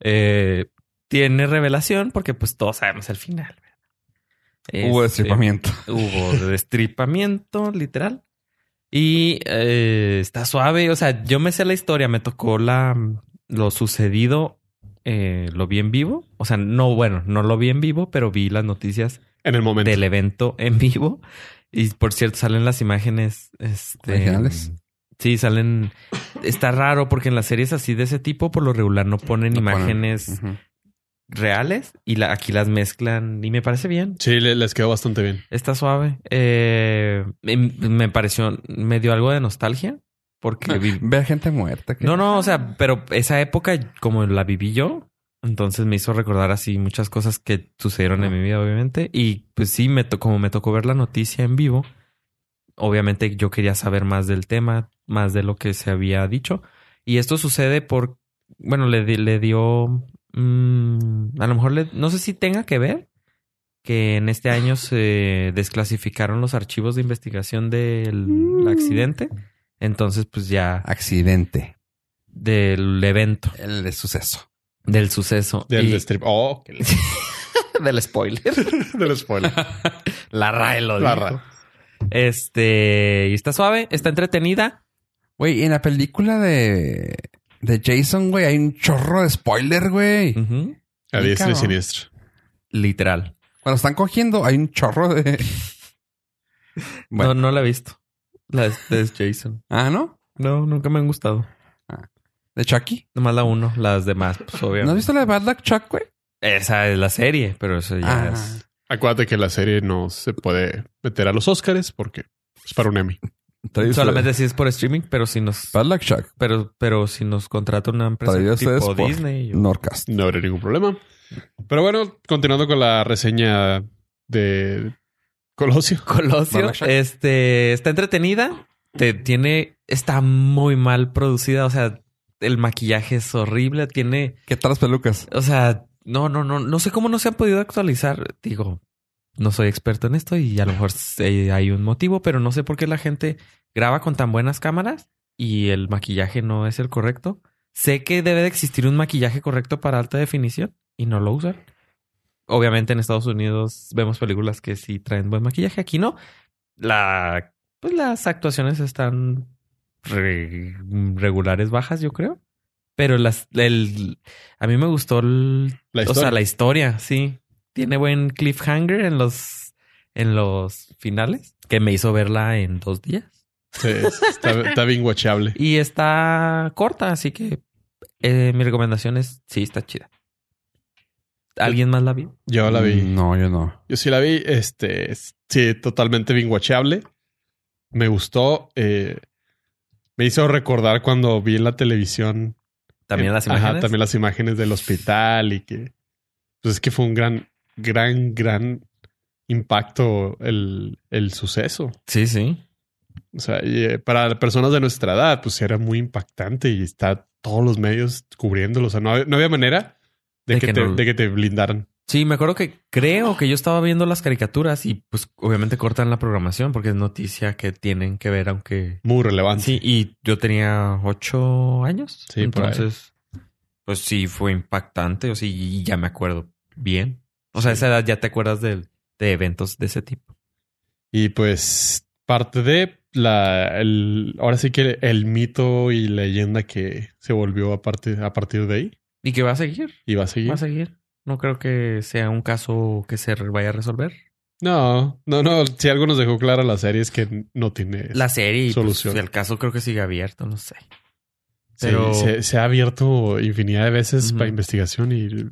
Eh, tiene revelación porque pues todos sabemos el final. ¿verdad?
Hubo
Este,
destripamiento.
Hubo destripamiento, literal. Y eh, está suave. O sea, yo me sé la historia. Me tocó la lo sucedido. eh, lo vi en vivo. O sea, no, bueno, no lo vi en vivo, pero vi las noticias
En el momento.
del evento en vivo. Y por cierto, salen las imágenes. Este,
Originales.
Sí, salen. Está raro porque en las series así de ese tipo, por lo regular, no ponen
No ponen.
imágenes
Ujú.
reales y la, aquí las mezclan. Y me parece bien.
Sí, le- les quedó bastante bien.
Está suave. Eh, me, me pareció, me dio algo de nostalgia porque vi-
Ver gente muerta. que-
No, no, o sea, pero esa época como la viví yo, entonces me hizo recordar así muchas cosas que sucedieron en mi vida, obviamente. Y pues sí, me to- como me tocó ver la noticia en vivo, obviamente yo quería saber más del tema, más de lo que se había dicho. Y esto sucede por, bueno, le, di- le dio, mm, a lo mejor le- no sé si tenga que ver que en este año se desclasificaron los archivos de investigación del accidente. Entonces, pues ya
Accidente.
del evento,
El suceso.
del suceso.
Del
Y-
strip. Oh, que le-
del spoiler.
del spoiler.
La RAE lo
La
dijo.
RAE.
Este, y está suave, está entretenida.
Güey, en la película de, de Jason, güey, hay un chorro de spoiler, güey.
Ujú.
A diestra y
Cabrón.
siniestra.
Literal.
Cuando están cogiendo, hay un chorro de. Bueno.
No, no la he visto. La de, de Jason.
Ah, ¿no?
No, nunca me han gustado.
De Chucky.
Nomás la uno, las demás, pues
¿No
obviamente.
has visto la de Bad Luck Chuck, güey?
Esa es la serie, pero eso ya
Ah.
es.
Acuérdate que la serie no se puede meter a los Oscars porque es para un Emmy.
Trae
Solamente si es por streaming, pero si nos.
ustedes- Bad Luck Chuck.
Pero, pero si nos contrata una empresa
Traído ustedes
tipo
por-
Disney. yo-
Norcast.
No habría ningún problema. Pero bueno, continuando con la reseña de Colosio.
Colosio.
Barbara Shack.
Este está entretenida. Te tiene, está muy mal producida. O sea, el maquillaje es horrible. Tiene,
¿Qué tal las pelucas?
o sea, no, no, no, no sé cómo no se han podido actualizar. Digo, no soy experto en esto y a lo mejor eh, hay un motivo, pero no sé por qué la gente graba con tan buenas cámaras y el maquillaje no es el correcto. Sé que debe de existir un maquillaje correcto para alta definición y no lo usan. Obviamente en Estados Unidos vemos películas que sí traen buen maquillaje, aquí no. La, pues las actuaciones están re- regulares bajas, yo creo. Pero las, el, a mí me gustó el,
La
o sea,
historia.
la historia, sí. Tiene buen cliffhanger en los, en los finales, que me hizo verla en dos días.
Sí, está, está bien guachable.
Y está corta, así que eh, mi recomendación es, sí, está chida. ¿Alguien más la vio?
Yo la vi.
No, yo no.
Yo sí la vi. Este, sí, totalmente bien guachable. Me gustó. eh, me hizo recordar cuando vi en la televisión
También
Eh,
las imágenes.
Ajá, también las imágenes del hospital y que. Pues es que fue un gran, gran, gran impacto el, el suceso.
Sí, sí.
O sea, y, eh, para personas de nuestra edad, pues era muy impactante y está todos los medios cubriéndolo. O sea, no, hab- no había manera de,
De
que
que
te,
no-
de que te blindaran.
Sí, me acuerdo que creo que yo estaba viendo las caricaturas y pues obviamente cortan la programación porque es noticia que tienen que ver aunque
Muy relevante.
Sí, y yo tenía ocho años.
Sí, por ahí.
entonces, pues sí, fue impactante. O sea, y ya me acuerdo bien. O sea, a
Sí.
esa edad ya te acuerdas de, de eventos de ese tipo.
Y pues parte de la, el, ahora sí que el mito y leyenda que se volvió a partir, a partir de ahí
¿Y que va a seguir?
y va a seguir.
Va a seguir. No creo que sea un caso que se vaya a resolver.
No, no, no. Si algo nos dejó clara la serie es que no tiene
La serie, y, pues,
Solución.
el caso creo que sigue abierto, no sé.
Sí,
pero-
se, se ha abierto infinidad de veces
Ujú.
para investigación y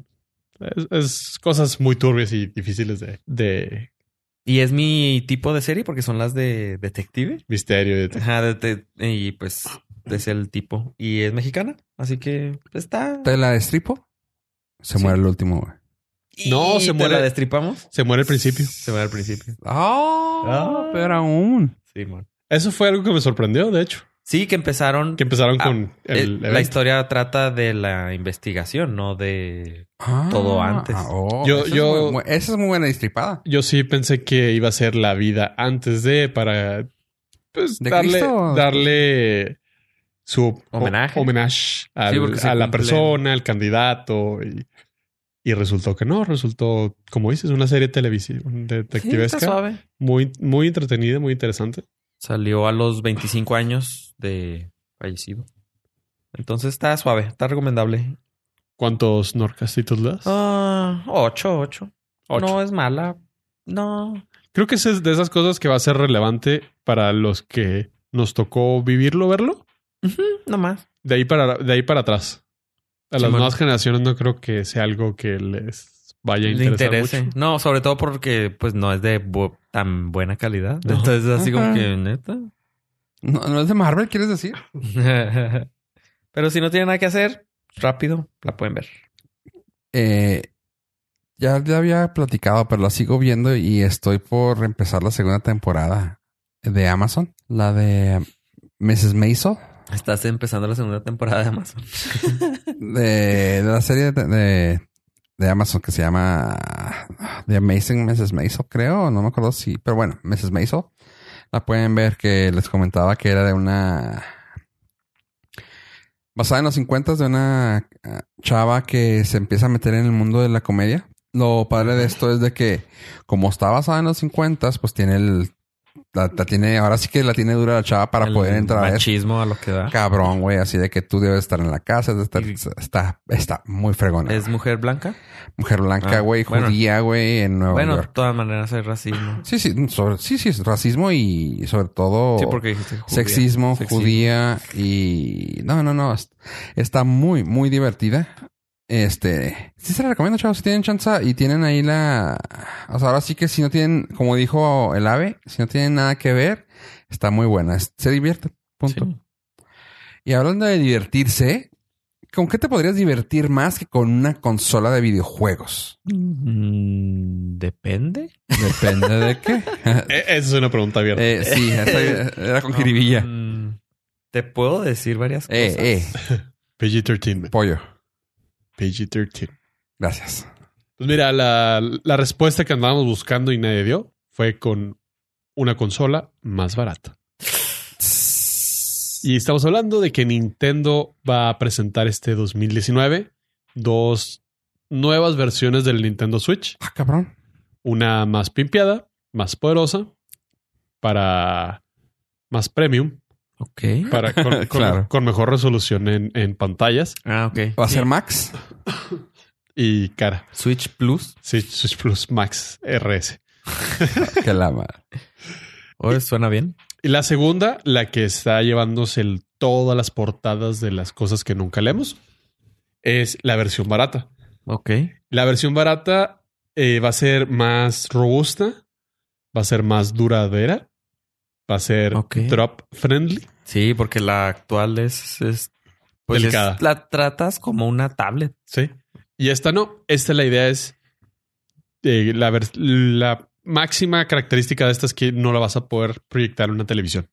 es, es cosas muy turbias y difíciles de, de
Y es mi tipo de serie porque son las de detective.
misterio. y de-
Ajá, de- de- y pues es el tipo. Y es mexicana, así que pues, está.
Te la destripo. Se
Sí.
muere el último, güey.
No,
Y
se
te
muere-
la destripamos?
Se muere al principio.
Se va al principio.
¡Ah! Pero aún.
Sí, man.
Eso fue algo que me sorprendió, de hecho.
Sí, que empezaron.
Que empezaron
Ah,
con el
eh, la
evento.
historia trata de la investigación, no de.
Ah,
Todo antes.
oh,
Yo-
esa,
yo-
Es muy, bu- esa es muy buena destripada.
Yo sí pensé que iba a ser la vida antes de para pues
¿De
darle,
Cristo?
darle su
Homenaje.
ho- homenaje al-
Sí, porque se
a la
cumple.
persona, al candidato y, y resultó que no, resultó como dices una serie televisiva detectivesca
Sí, está suave.
muy muy entretenida, muy interesante.
Salió a los 25 años de fallecido. Entonces está suave, está recomendable.
¿Cuántos norcastitos le das?
Ah, ocho, ocho.
Ocho.
No es mala. No.
Creo que esa es de esas cosas que va a ser relevante para los que nos tocó vivirlo, verlo.
Ujú, no más.
De ahí para, de ahí para atrás. A las
Simón.
nuevas generaciones no creo que sea algo que les vaya a
Le
interesar
interese.
mucho.
No, sobre todo porque pues no es de bu- tan buena calidad.
No.
Entonces así como
Ajá.
que neta.
No, no es de Marvel, ¿quieres decir?
Pero si no tiene nada que hacer, rápido, la pueden ver.
Eh, ya, ya había platicado, pero la sigo viendo y estoy por empezar la segunda temporada de Amazon. La de Mrs. Maisel.
Estás empezando la segunda temporada de Amazon.
De, de la serie de, de- de Amazon que se llama The Amazing Mrs. Maisel, creo. No me acuerdo si... Pero bueno, Mrs. Maisel. La pueden ver que les comentaba que era de una... Basada en los 50 de una eh, chava que se empieza a meter en el mundo de la comedia. Lo padre de esto es de que como está basada en los 50 pues tiene el... La, la tiene, ahora sí que la tiene dura la chava para
El
poder entrar a esto.
machismo a lo que da.
Ah. Cabrón, güey, así de que tú debes estar en la casa, de estar-
Y-
está, está muy fregona.
¿Es mujer blanca?
Mujer blanca,
Ah,
güey,
bueno.
judía, güey, en Nueva
bueno, de
York.
todas maneras es racismo.
Sí, sí, sobre- sí, sí, es racismo y sobre todo
Sí, porque dijiste judía.
sexismo,
Sexismo.
judía y... No, no, no, es- está muy, muy divertida. Este, sí se la recomiendo, chavos, si tienen chance y tienen ahí la... O sea, ahora sí que si no tienen, como dijo el ave, si no tienen nada que ver, está muy buena, es- se divierte, punto.
Sí.
Y hablando de divertirse, ¿con qué te podrías divertir más que con una consola de videojuegos?
Mm, Depende.
Depende de qué.
E- Esa es una pregunta abierta.
Eh, sí, esa era con jiribilla.
Mm, Te puedo decir varias
Eh,
cosas.
eh,
PG-13, man.
pollo.
PG-13.
Gracias.
Pues mira, la, la respuesta que andábamos buscando y nadie dio fue con una consola más barata. Y estamos hablando de que Nintendo va a presentar este 2019 dos nuevas versiones del Nintendo Switch.
Ah, cabrón.
una más pimpeada, más poderosa, para más premium,
Ok.
para con, con-
Claro.
con mejor resolución en, en pantallas
Ah, ok.
¿Va a ser Max?
y cara.
Switch Plus.
Sí, Switch Plus Max RS.
que la madre.
Oye, suena bien.
Y la segunda, la que está llevándose el- todas las portadas de las cosas que nunca leemos, es la versión barata.
Ok.
La versión barata eh, va a ser más robusta, va a ser más duradera, va a ser
Ok.
drop friendly.
Sí, porque la actual es. es- pues es-
Delicada.
la tratas como una tablet.
Sí. Y esta no. Esta la idea es eh, la, vers- la máxima característica de esta es que no la vas a poder proyectar en una televisión.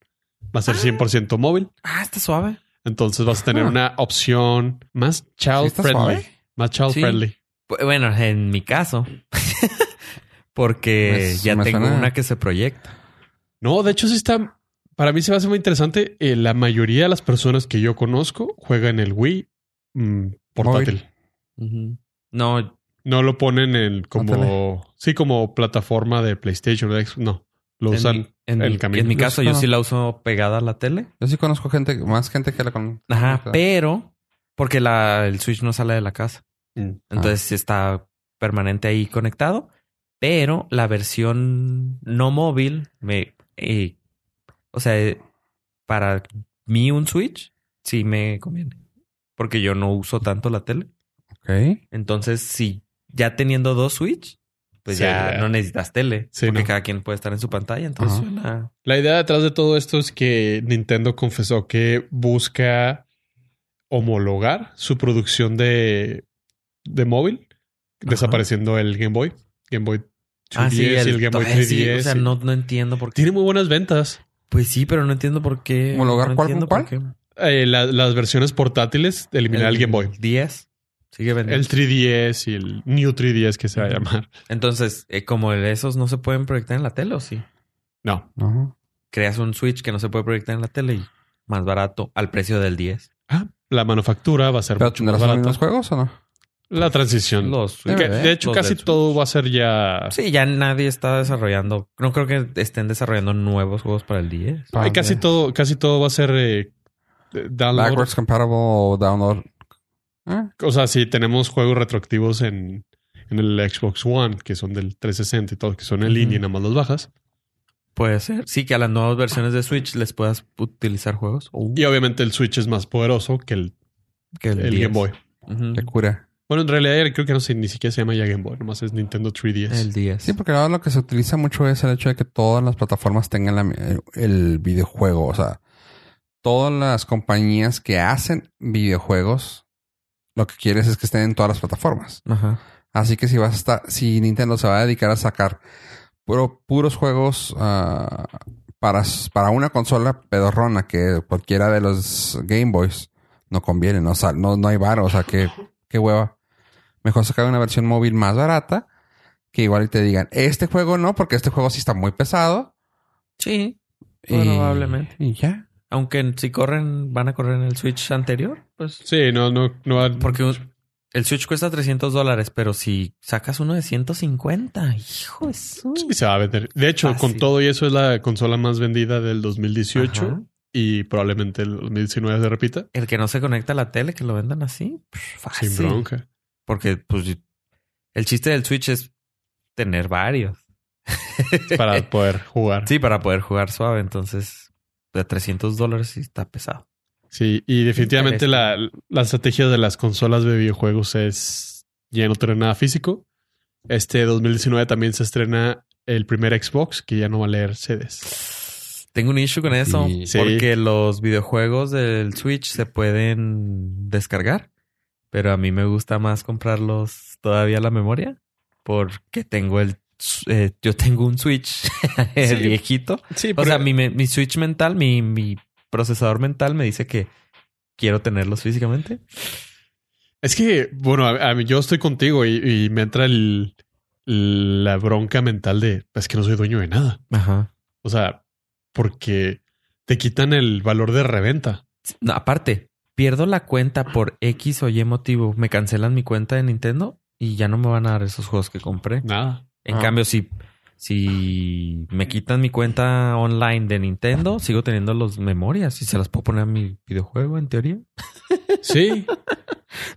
Va a ser 100% móvil.
Ah, está suave.
Entonces vas a tener
Ah.
una opción más child
¿Sí está
friendly.
suave?
Más child
Sí.
friendly.
Bu- Bueno, en mi caso. porque
Me-
ya
me
tengo
suena-
una que se proyecta.
No, de hecho, sí está. Para mí se me hace muy interesante. Eh, la mayoría de las personas que yo conozco juegan el Wii mm, portátil.
No,
No lo ponen en
Ándale. Ah,
como. Sí, como plataforma de PlayStation o de Xbox. No. Lo
En
usan.
mi- en,
el
mi-
camino.
en mi caso, yo
Ajá.
sí la uso pegada a la tele.
Yo sí conozco gente, más gente que la con.
Ajá,
que la-
pero porque la, el Switch no sale de la casa.
Mm.
Ah.
Entonces sí está permanente ahí conectado. Pero la versión no móvil, me, eh, o sea, eh, para mí un Switch sí me conviene. Porque yo no uso tanto la tele.
Ok.
Entonces, si ya teniendo dos Switch, pues
Sí,
ya
ya.
no necesitas tele.
Sí,
porque
no.
cada quien puede estar en su pantalla. Entonces
Ajá.
suena-
La idea detrás de todo esto es que Nintendo confesó que busca homologar su producción de, de móvil,
Ajá.
desapareciendo el Game Boy, Game Boy 2DS
Ah, sí,
y el,
el,
Game Boy
ah,
3DS.
sí, o sea,
y-
no, no entiendo por qué.
Tiene muy buenas ventas.
Pues sí, pero no entiendo por qué.
¿Homologar
no
cuál con
entiendo
cuál?
por qué.
Eh, la- las versiones portátiles, eliminar el, Game Boy.
10 sigue vendiendo.
El 3DS y el New 3DS que se va a llamar.
Entonces, eh, como el- esos no se pueden proyectar en la tele, ¿o sí?
No.
No.
Creas un Switch que no se puede proyectar en la tele y más barato al precio del 10.
Ah, la manufactura va a ser
¿Pero
mucho más
tendrás los
barata.
mismos juegos o no?
La transición.
Los Switch,
Que, de hecho,
los
casi
del Switch.
todo va a ser ya...
Sí, ya nadie está desarrollando. No creo que estén desarrollando nuevos juegos para el 10.
Ay, casi
Padre.
todo, casi todo va a ser eh, eh, download.
Backwards compatible o download. Eh,
O sea, sí, tenemos juegos retroactivos en, en el Xbox One, que son del 360 y todo, que son en línea y nada más los bajas.
Puede ser. Sí, que a las nuevas versiones de Switch les puedas utilizar juegos. Uh,
Y obviamente el Switch es más poderoso que el,
que el
el
10.
Game Boy.
Ujú.
Qué cura.
Bueno, en realidad eh, creo que no sé, ni siquiera se llama ya Game Boy, nomás es Nintendo 3DS.
El 10.
pues.
Sí, porque ahora lo que se utiliza mucho es el hecho de que todas las plataformas tengan la- el, el videojuego. O sea, todas las compañías que hacen videojuegos, lo que quieres es que estén en todas las plataformas.
Ajá.
Así que si vas a estar, si Nintendo se va a dedicar a sacar puro- puros juegos ah, para, s- para una consola pedorrona que cualquiera de los Game Boys no conviene, no, sal- no, no hay varo, o sea que qué hueva. Mejor sacar una versión móvil más barata que igual y te digan, este juego no, porque este juego sí está muy pesado.
Sí.
Y-
Probablemente.
Y, ya.
Aunque si corren, van a correr en el Switch anterior, pues.
Sí, no, no, no. va-
Porque un- el Switch cuesta 300 dólares, pero si sacas uno de 150, hijo eso.
Sí, se va a vender. De hecho, con
Fácil.
todo y eso es la consola más vendida del 2018
Ajá.
y probablemente el 2019 se repita.
El que no se conecta a la tele, que lo vendan así, pff, fácil.
Sin bronca.
Porque, pues, el chiste del Switch es tener varios.
Para poder jugar.
Sí, para poder jugar suave. Entonces, de 300 dólares sí está pesado.
Sí, y definitivamente la, la estrategia de las consolas de videojuegos es ya no tener nada físico. Este 2019 también se estrena el primer Xbox que ya no va a leer CDs.
Tengo un issue con eso.
Sí.
Sí.
Porque los videojuegos del Switch se pueden descargar. Pero a mí me gusta más comprarlos todavía a la memoria. Porque tengo el... eh, yo tengo un Switch
Sí.
viejito.
Sí,
O sea, mi, me- mi Switch mental, mi, mi procesador mental me dice que quiero tenerlos físicamente.
es que, bueno, a, a mí, yo estoy contigo y, y me entra el- la bronca mental de "Pues es que no soy dueño de nada.
Ajá.
O sea, porque te quitan el valor de reventa.
No, aparte, pierdo la cuenta por X o Y motivo. Me cancelan mi cuenta de Nintendo y ya no me van a dar esos juegos que compré.
Nada.
En
Ah.
cambio, si, si me quitan mi cuenta online de Nintendo, sigo teniendo las memorias y se las puedo poner a mi videojuego, en teoría.
Sí,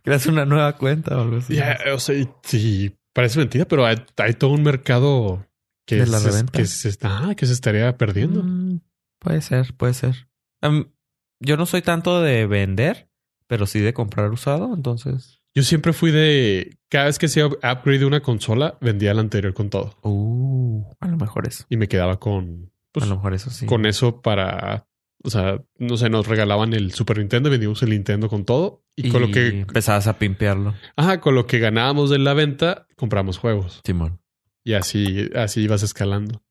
Creas una nueva cuenta o algo así.
Ya, o sea, y- sí, parece mentira, pero hay, hay todo un mercado que,
De la
se,
reventa.
que, se está, ah, que se estaría perdiendo.
Mm, puede ser, puede ser. Am, yo no soy tanto de vender, pero sí de comprar usado, entonces.
Yo siempre fui de, cada vez que hacía upgrade de una consola, vendía la anterior con todo
Uh, a lo mejor eso.
y me quedaba con, pues,
a lo mejor eso sí.
con eso para, o sea, no sé, nos regalaban el Super Nintendo, vendíamos el Nintendo con todo y, con lo que,
empezabas a pimpearlo,
ajá, con lo que ganábamos de la venta, compramos juegos
Simón.
y así, así ibas escalando.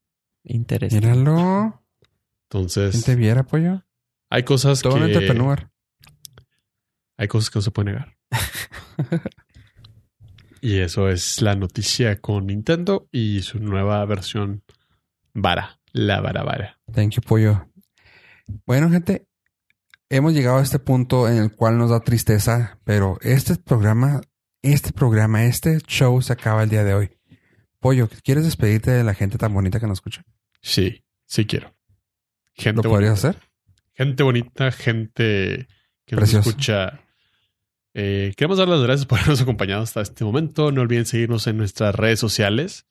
Interesante.
Míralo. ¿Quién te
Entonces,
viera, pollo?
hay cosas
Todo un
que,
entrepreneur.
Hay cosas que no se puede negar. y eso es la noticia con Nintendo y su nueva versión vara, la vara vara.
Thank you, pollo. Bueno, gente, hemos llegado a este punto en el cual nos da tristeza, pero este programa, este programa, este show se acaba el día de hoy. Pollo, ¿quieres despedirte de la gente tan bonita que nos escucha?
Sí, sí quiero. Gente
¿Lo podrías hacer?
gente bonita, gente que nos
Precioso.
escucha. Eh, queremos dar las gracias por habernos acompañado hasta este momento. No olviden seguirnos en nuestras redes sociales,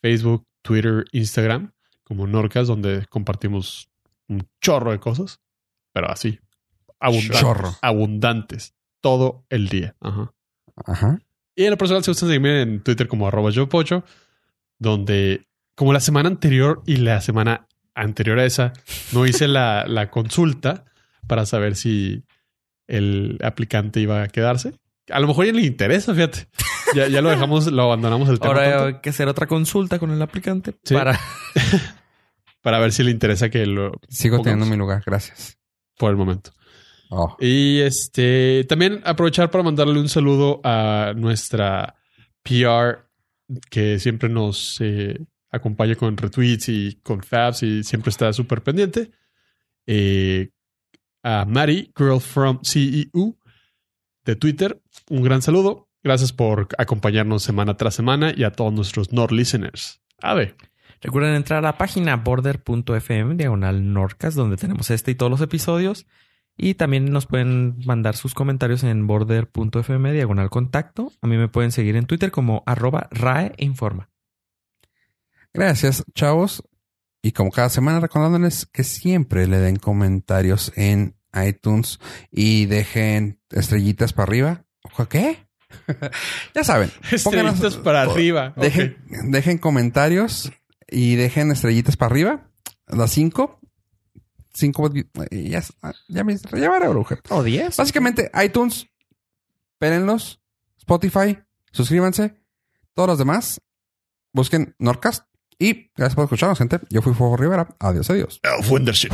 Facebook, Twitter, Instagram, como Norcas, donde compartimos un chorro de cosas, pero así, abundantes,
Chorro.
abundantes todo el día. Ajá.
Ajá.
Y en lo personal, si gustan seguirme en Twitter como arroba yo pocho, donde como la semana anterior y la semana anterior a esa, no hice la, la consulta para saber si el aplicante iba a quedarse. A lo mejor ya le interesa, fíjate. Ya, ya lo dejamos, lo abandonamos el tema
Ahora
tanto
hay que hacer otra consulta con el aplicante
Sí.
para
para ver si le interesa que lo
Sigo
Pongamos.
teniendo mi lugar. Gracias.
por el momento.
Oh.
Y este también aprovechar para mandarle un saludo a nuestra PR que siempre nos eh, acompaña con retweets y con fabs y siempre está súper pendiente. Eh, a Mari, Girl from CEU de Twitter, un gran saludo. Gracias por acompañarnos semana tras semana y a todos nuestros Nord listeners. A ver,
Recuerden entrar a la página border.fm diagonal Norcas, donde tenemos este y todos los episodios. Y también nos pueden mandar sus comentarios en border.fm diagonal contacto. A mí me pueden seguir en Twitter como arroba raeinforma.
Gracias, chavos. Y como cada semana, recordándoles que siempre le den comentarios en iTunes y dejen estrellitas para arriba. Ojo, ¿Qué? ya saben. pónganos-
estrellitas para
o-
arriba.
Dejen,
Ok.
dejen comentarios y dejen estrellitas para arriba. Las cinco. Cinco. eh, Ya, ya me ya me haré bruja.
O 10.
Básicamente, iTunes, pérenlos, Spotify, suscríbanse, todos los demás, busquen Norcast y gracias por escucharnos, gente. Yo fui Fuego Rivera. Adiós, adiós.
Elf Wondership.